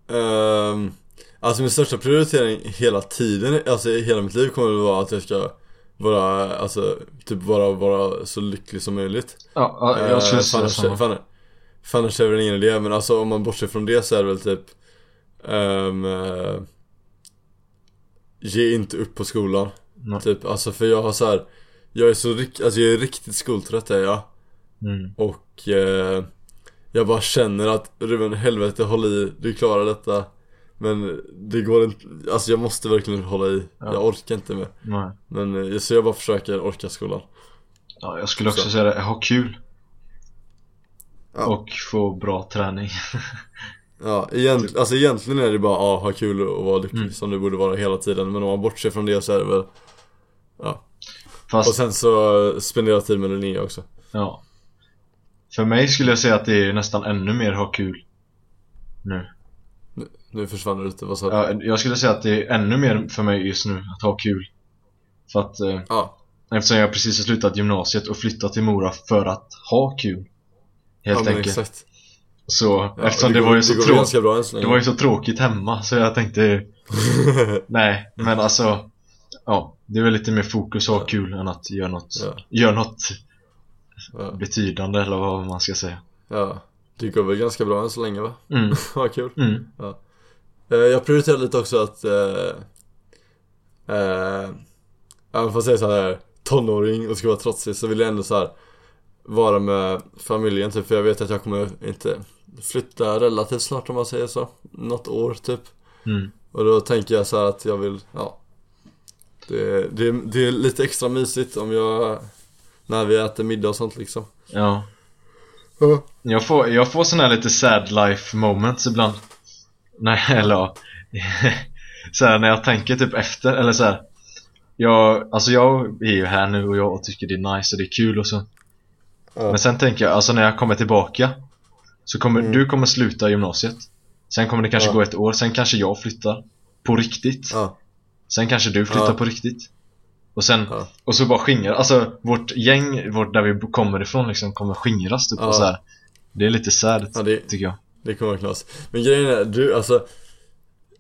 ehm, alltså min största prioritering hela tiden, alltså i hela mitt liv kommer det vara att jag ska vara, alltså typ bara vara så lycklig som möjligt. Ja, ja, jag skulle Eh, säga fan, samma fan, fan, annars är det väl ingen idé, men alltså om man bortser från det så är det väl typ ehm, eh, Ge inte upp på skolan Nej. Typ, alltså för jag har så här. Jag är så rikt, alltså jag är riktigt skoltrött är jag mm. Och eh, jag bara känner att Ruben helvete håll i, du klarar detta Men det går inte, alltså jag måste verkligen hålla i Ja. Jag orkar inte mer Nej. Men eh, så jag bara försöker orka skolan Ja, jag skulle också Så. säga det, ha kul Ja. Och få bra träning Ja, egent, alltså egentligen är det bara ah, ha kul och vara lycklig Mm. som det borde vara hela tiden Men om man bortser från det så är det väl Ja, Fast, och sen så eh, spendera tid med Linnea också ja För mig skulle jag säga att det är nästan ännu mer ha kul Nu Nu försvann det lite, vad sa du? ja, Jag skulle säga att det är ännu mer för mig just nu att ha kul För att, eh, Ja, eftersom jag precis har slutat gymnasiet och flyttat till Mora för att ha kul ja Helt men enkelt exakt Så, ja, eftersom det, går- var ju det så går tråkigt ganska bra än så Det länge var ju så tråkigt hemma så jag tänkte Nej, men alltså Ja, det är väl lite mer fokus att ha kul än att göra något Ja. Gör något ja, betydande eller vad man ska säga ja, det går väl ganska bra än så länge va? Mm, Vad kul mm, Eh, Jag prioriterar lite också att eh, eh, Även fast jag är så här tonåring och ska vara trotsig så vill jag ändå så här Vara med familjen typ för jag vet att jag kommer inte Flytta relativt snart om man säger så Något år typ mm. Och då tänker jag så här att jag vill, ja det, det, det är lite extra mysigt om jag När vi äter middag och sånt liksom Ja jag får, jag får såna här lite sad life moments ibland Nej, eller ja så här, när jag tänker typ efter, eller så här. Jag, alltså jag är ju här nu och jag tycker det är nice och det är kul och så Ja. Men sen tänker jag, alltså när jag kommer tillbaka Så kommer, Mm. du kommer sluta gymnasiet Sen kommer det kanske Ja. gå ett år, sen kanske jag flyttar På riktigt Ja, Sen kanske du flyttar Ja. på riktigt Och sen, Ja. och så bara skingrar, alltså vårt gäng, vårt, där vi b- kommer ifrån liksom kommer skingras typ Ja. och så här. Det är lite sad ja det, tycker jag Det kommer vara knas. Men grejen är, du alltså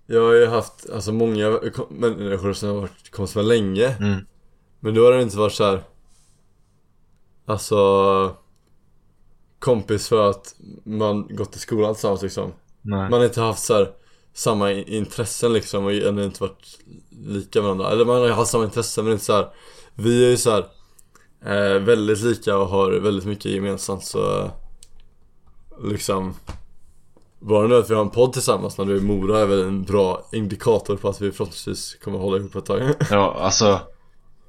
Jag har ju haft, alltså många kom- människor som har varit kompisar med länge mm. Men då har det inte varit så här. Alltså Kompis för att man gått i skolan tillsammans liksom Nej. Man har inte haft så här Samma i- intressen liksom och ändå inte varit lika varandra Eller man har haft samma intressen men inte så här. Vi är ju så här eh, Väldigt lika och har väldigt mycket gemensamt så eh, Liksom Bara nu att vi har en podd tillsammans när du är i Mora är väl en bra indikator på att vi förhoppningsvis kommer hålla ihop ett tag Ja, alltså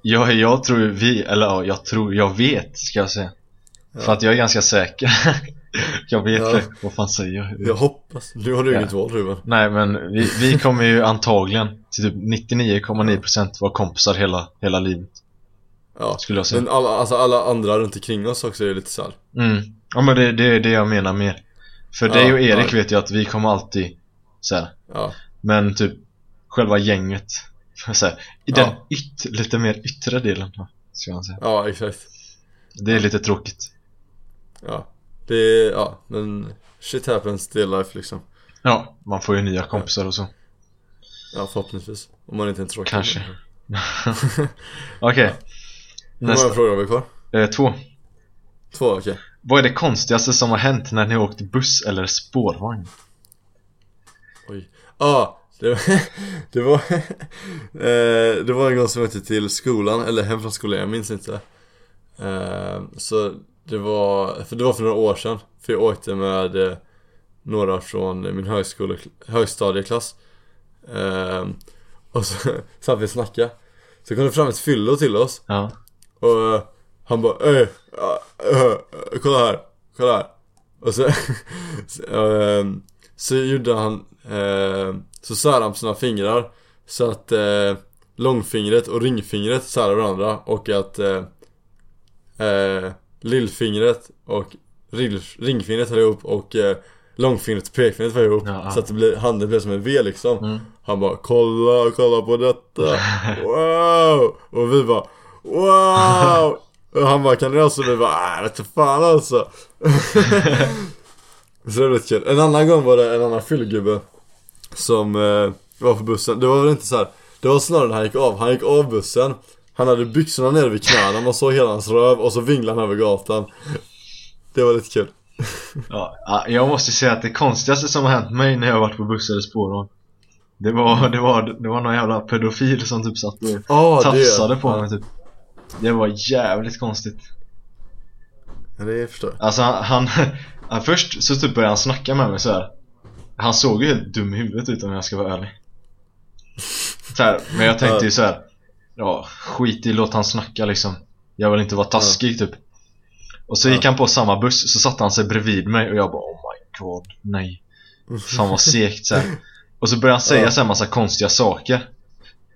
jag, jag tror ju vi, eller ja, jag tror, jag vet ska jag säga Ja. För att jag är ganska säker Jag vet Ja. det, vad fan säger jag? Jag hoppas, nu har du Ja. inget val Ruben Nej men vi, vi kommer ju antagligen till typ 99,9% vara kompisar hela, hela livet Ja skulle jag säga Men alla, alltså alla andra runt omkring oss också är lite såhär Mm. Ja men det, det är det jag menar mer För Ja, dig och Erik ja. vet jag att vi kommer alltid så här. Ja, Men typ själva gänget så här, I Ja. den yt, lite mer yttre delen va, ska man säga ja exakt Det är lite tråkigt Ja, det är, ja men shit happens, det är life liksom Ja, man får ju nya kompisar och så Ja förhoppningsvis, om man inte är en tråkig Kanske. människa. Okej, Hur många nästa frågor har vi kvar? eh, Två Två, okej Vad är det konstigaste som har hänt när ni har åkt buss eller spårvagn? Oj Ja, det, det var eh, Det var en gång som jag åkte till skolan, eller hem från skolan, jag minns inte Eh, Så det var, för det var för några år sedan För jag åkte med eh, några från min högskole, högstadieklass Eh, Och så satt vi och snackade Så kom det fram ett fyllo till oss Ja, Och eh, han bara "Ey, ja, eh, kolla här, kolla här. Och så, så, ehm, så gjorde han, ehm, så särade han på sina fingrar så att eh, långfingret och ringfingret särar varandra och att eh, eh, lillfingret och rill, ringfingret höll ihop och eh, långfingret och pekfingret var ihop Ja, ja. Så att det blev, handen blev som en V liksom Mm. Han bara kolla, kolla på detta Wow! Och vi bara wow! Och han bara kan du göra så? Vi bara nej vete fan alltså Så det var lite kul En annan gång var det en annan fyllgubbe Som eh, var på bussen, det var väl inte så här. Det var snarare när han gick av, han gick av bussen Han hade byxorna nere vid knäna, man såg hela hans röv och så vinglade han över gatan Det var lite kul Ja, ja, jag måste säga att det konstigaste som har hänt mig när jag har varit på buss eller spårvagn det var, det, var, det var någon jävla pedofil som typ satt och oh, tafsade på mig typ Det var jävligt konstigt Ja, det förstår jag. Alltså han, han, han först så typ började han snacka med mig så här. Han såg ju helt dum i huvudet ut om jag ska vara ärlig så här, Men jag tänkte ju så här. Ja, skit i låt han snacka liksom Jag vill inte vara taskig typ Och så gick han på samma buss, så satte han sig bredvid mig och jag bara oh my god, nej Fan vad segt så här. Och så började han säga Ja. så här massa konstiga saker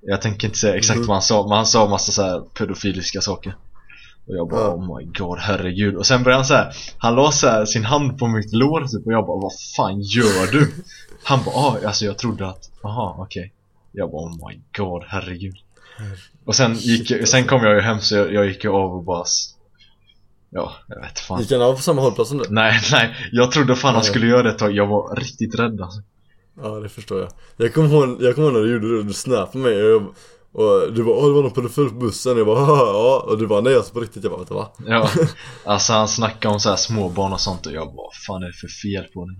Jag tänker inte säga exakt Mhm. vad han sa, men han sa massa så här pedofiliska saker och jag bara Ja. oh my god herregud Och sen började han så här. Han la så här sin hand på mitt lår typ och jag bara vad fan gör du? Han bara ah, alltså jag trodde att, aha okej Jag bara oh my god herregud Och sen gick jag, sen alltså. kom jag ju hem så jag, jag gick ju av och bara s- Ja, jag vet fan Gick han av på samma hållplats som du? Nej nej, jag trodde fan han Nej. skulle göra det ett tag, jag var riktigt rädd alltså. Ja det förstår jag Jag kommer ihåg, jag kommer ihåg när du gjorde det, du snappade mig och, jag, och du bara åh det var någon pedofil på bussen Jag bara "Haha, ja och du bara nej alltså på riktigt Jag bara vänta va? Ja, alltså han snackade om så här småbarn och sånt och jag bara vad fan är det för fel på den?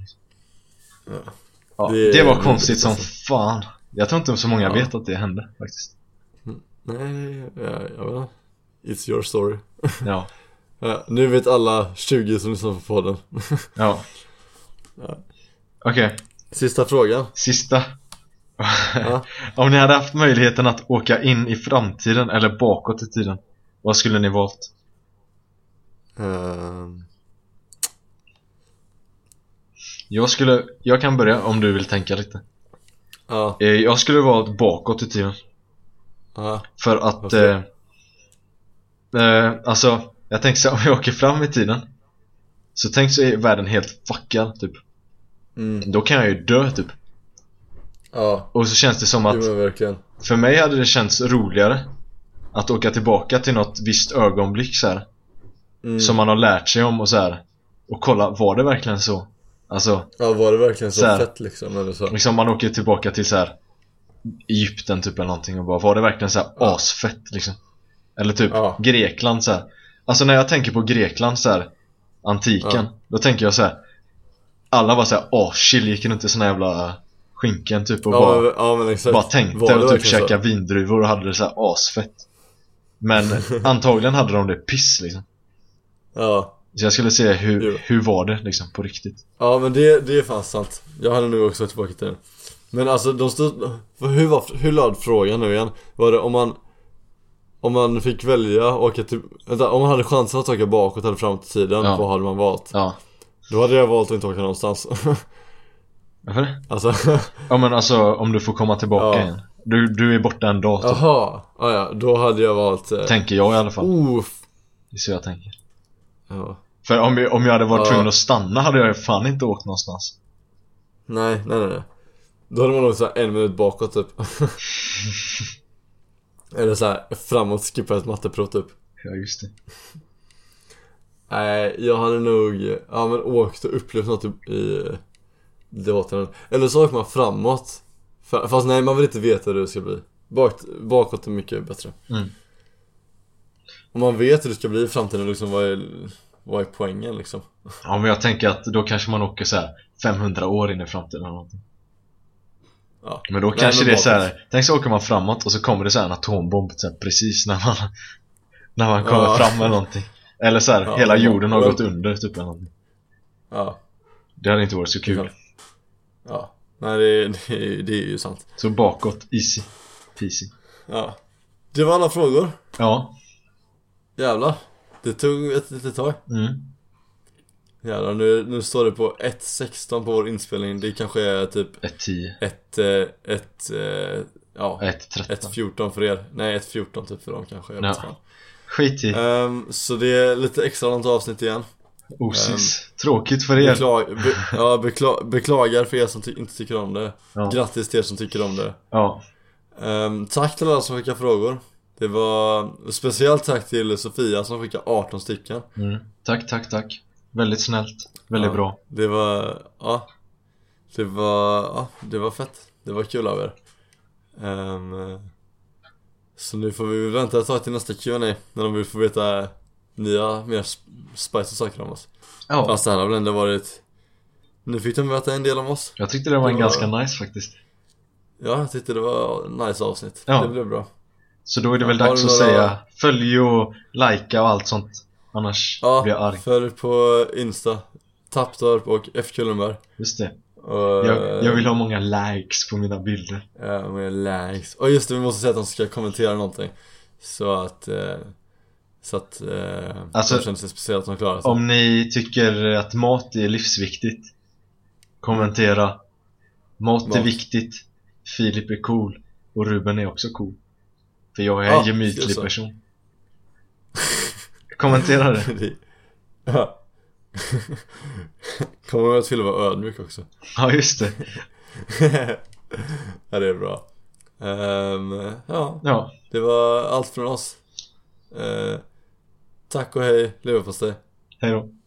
Ja. Ja, Det- det, var konstigt som alltså. fan Jag tror inte så många Ja. vet att det hände faktiskt Nej, ja, jag vet inte It's your story Ja, ja, Nu vet alla 20 som lyssnar på podden ja Ja. Okej, Sista frågan sista Ja. Om ni hade haft möjligheten att åka in i framtiden eller bakåt i tiden Vad skulle ni valt? Ehm, Jag skulle, jag kan börja om du vill tänka lite Ja, Eh, Jag skulle valt bakåt i tiden ja, För att... Eh, Varför? eh, alltså, jag tänker så här, om jag åker fram i tiden Så tänk så är världen helt fuckad typ mm, Då kan jag ju dö typ ja Och så känns det som Jo att men verkligen För mig hade det känts roligare Att åka tillbaka till något visst ögonblick så här, mm. Som man har lärt sig om och så här. Och kolla, var det verkligen så? Alltså, Ja var det verkligen så, Så här. fett liksom eller så? liksom man åker tillbaka till så här Egypten typ eller någonting och bara var det verkligen så här Ja. asfett liksom? Eller typ Ja. Grekland så här. Alltså när jag tänker på Grekland så här antiken, Ja. då tänker jag så här alla var så här aschill, gick runt i såna jävla skinken typ och Ja, bara, men, ja men exakt bara Var tänkte det och typ verkligen så? käkade vindruvor och hade det så här asfett. Men antagligen hade de det piss liksom. Ja Så jag skulle säga hur, Jo. hur var det liksom på riktigt? Ja men det, det är fan sant Jag hade nog också tillbaka till den Men alltså de stod, för hur var, hur löd frågan nu igen? Var det om man Om man fick välja åka till, vänta, om man hade chansen att åka bakåt eller framåt i tiden, Ja. vad hade man valt? Ja. Då hade jag valt att inte åka någonstans Varför det? Alltså, Ja men alltså om du får komma tillbaka Ja. igen. Du, du är borta en dag typ. jaha, ah, ja, då hade jag valt eh, Tänker jag i alla fall. oh, f- Det är så jag tänker. ja. För om jag, om jag hade varit Ja. tvungen att stanna hade jag ju fan inte åkt någonstans. Nej, nej, nej, nej. Då hade man nog såhär en minut bakåt typ Eller såhär framåt, skippa ett matteprov typ Ja just det. Nej, jag hade nog, ja men åkt och upplevt något i, i dåtiden. Eller så åker man framåt. Fa- Fast nej, man vill inte veta hur det ska bli. Bak, bakåt är mycket bättre. Mm. Om man vet hur det ska bli i framtiden, liksom, vad, är, vad är poängen liksom? Ja men jag tänker att då kanske man åker så här 500 år in i framtiden eller någonting. Ja. Men då Nej, kanske men det är så bakåt. här. tänk så åker man framåt och så kommer det så här en atombomb så här, precis när man när man kommer Ja. fram eller någonting. Eller så här, Ja, hela men- jorden har men- gått under typ eller någonting. Ja. Det hade inte varit så kul. Ja. Nej, det, det, det är ju sant. Så bakåt, easy peasy. Ja. Det var alla frågor. Ja. Jävlar. Det tog ett litet tag. Mm. Jävlar, nu, nu står det på 1.16 på vår inspelning. Det kanske är typ 1-10. ett, eh, ett, eh, ja, 1-13. ett 14 för er. Nej, ett 14 typ för dem kanske. Jag vet Ja. inte fan. Skit i. Ehm, så det är lite extra långt avsnitt igen. Osis. Tråkigt för er. Beklag, be, ja, bekla, beklagar för er som ty- inte tycker om det Ja. Grattis till er som tycker om det Ja. Ehm, Tack till alla som skickade frågor Det var speciellt tack till Sofia som skickade 18 stycken Mm. Tack, tack, tack. Väldigt snällt. Väldigt Ja. bra. Det var, ja Det var, ja det var fett Det var kul av er Ehm, Så nu får vi vänta ett tag till nästa Q&A När de vill få veta nya, mer sp- spicy saker om oss Ja, Fast det här har väl ändå varit Nu fick de veta en del om oss jag tyckte det var en Det var- ganska nice faktiskt. Ja, jag tyckte det var nice avsnitt Ja. Det blev bra Så då är det väl Har dags du att några- säga följ och likea och allt sånt. Annars Ja, blir jag arg. följ på Insta Tapptorp och F. Kullenberg Just det. och, eh, Jag, jag vill ha många likes på mina bilder. Ja, med likes. Och just det, vi måste säga att de ska kommentera någonting. Så att... Eh, så att eh, Alltså, de känner sig speciella att de klarar sig. Om ni tycker att mat är livsviktigt Kommentera Mat, är Mat. viktigt Filip är cool Och Ruben är också cool För jag är Ja, en gemytlig just så. person Kommentera det Det- Ja. Kommer ihåg att Fille var ödmjuk också. Ja just det ja, det är bra. Ehm, ja, Ja, det var allt från oss. Eh, tack och hej, leverpastej. hejdå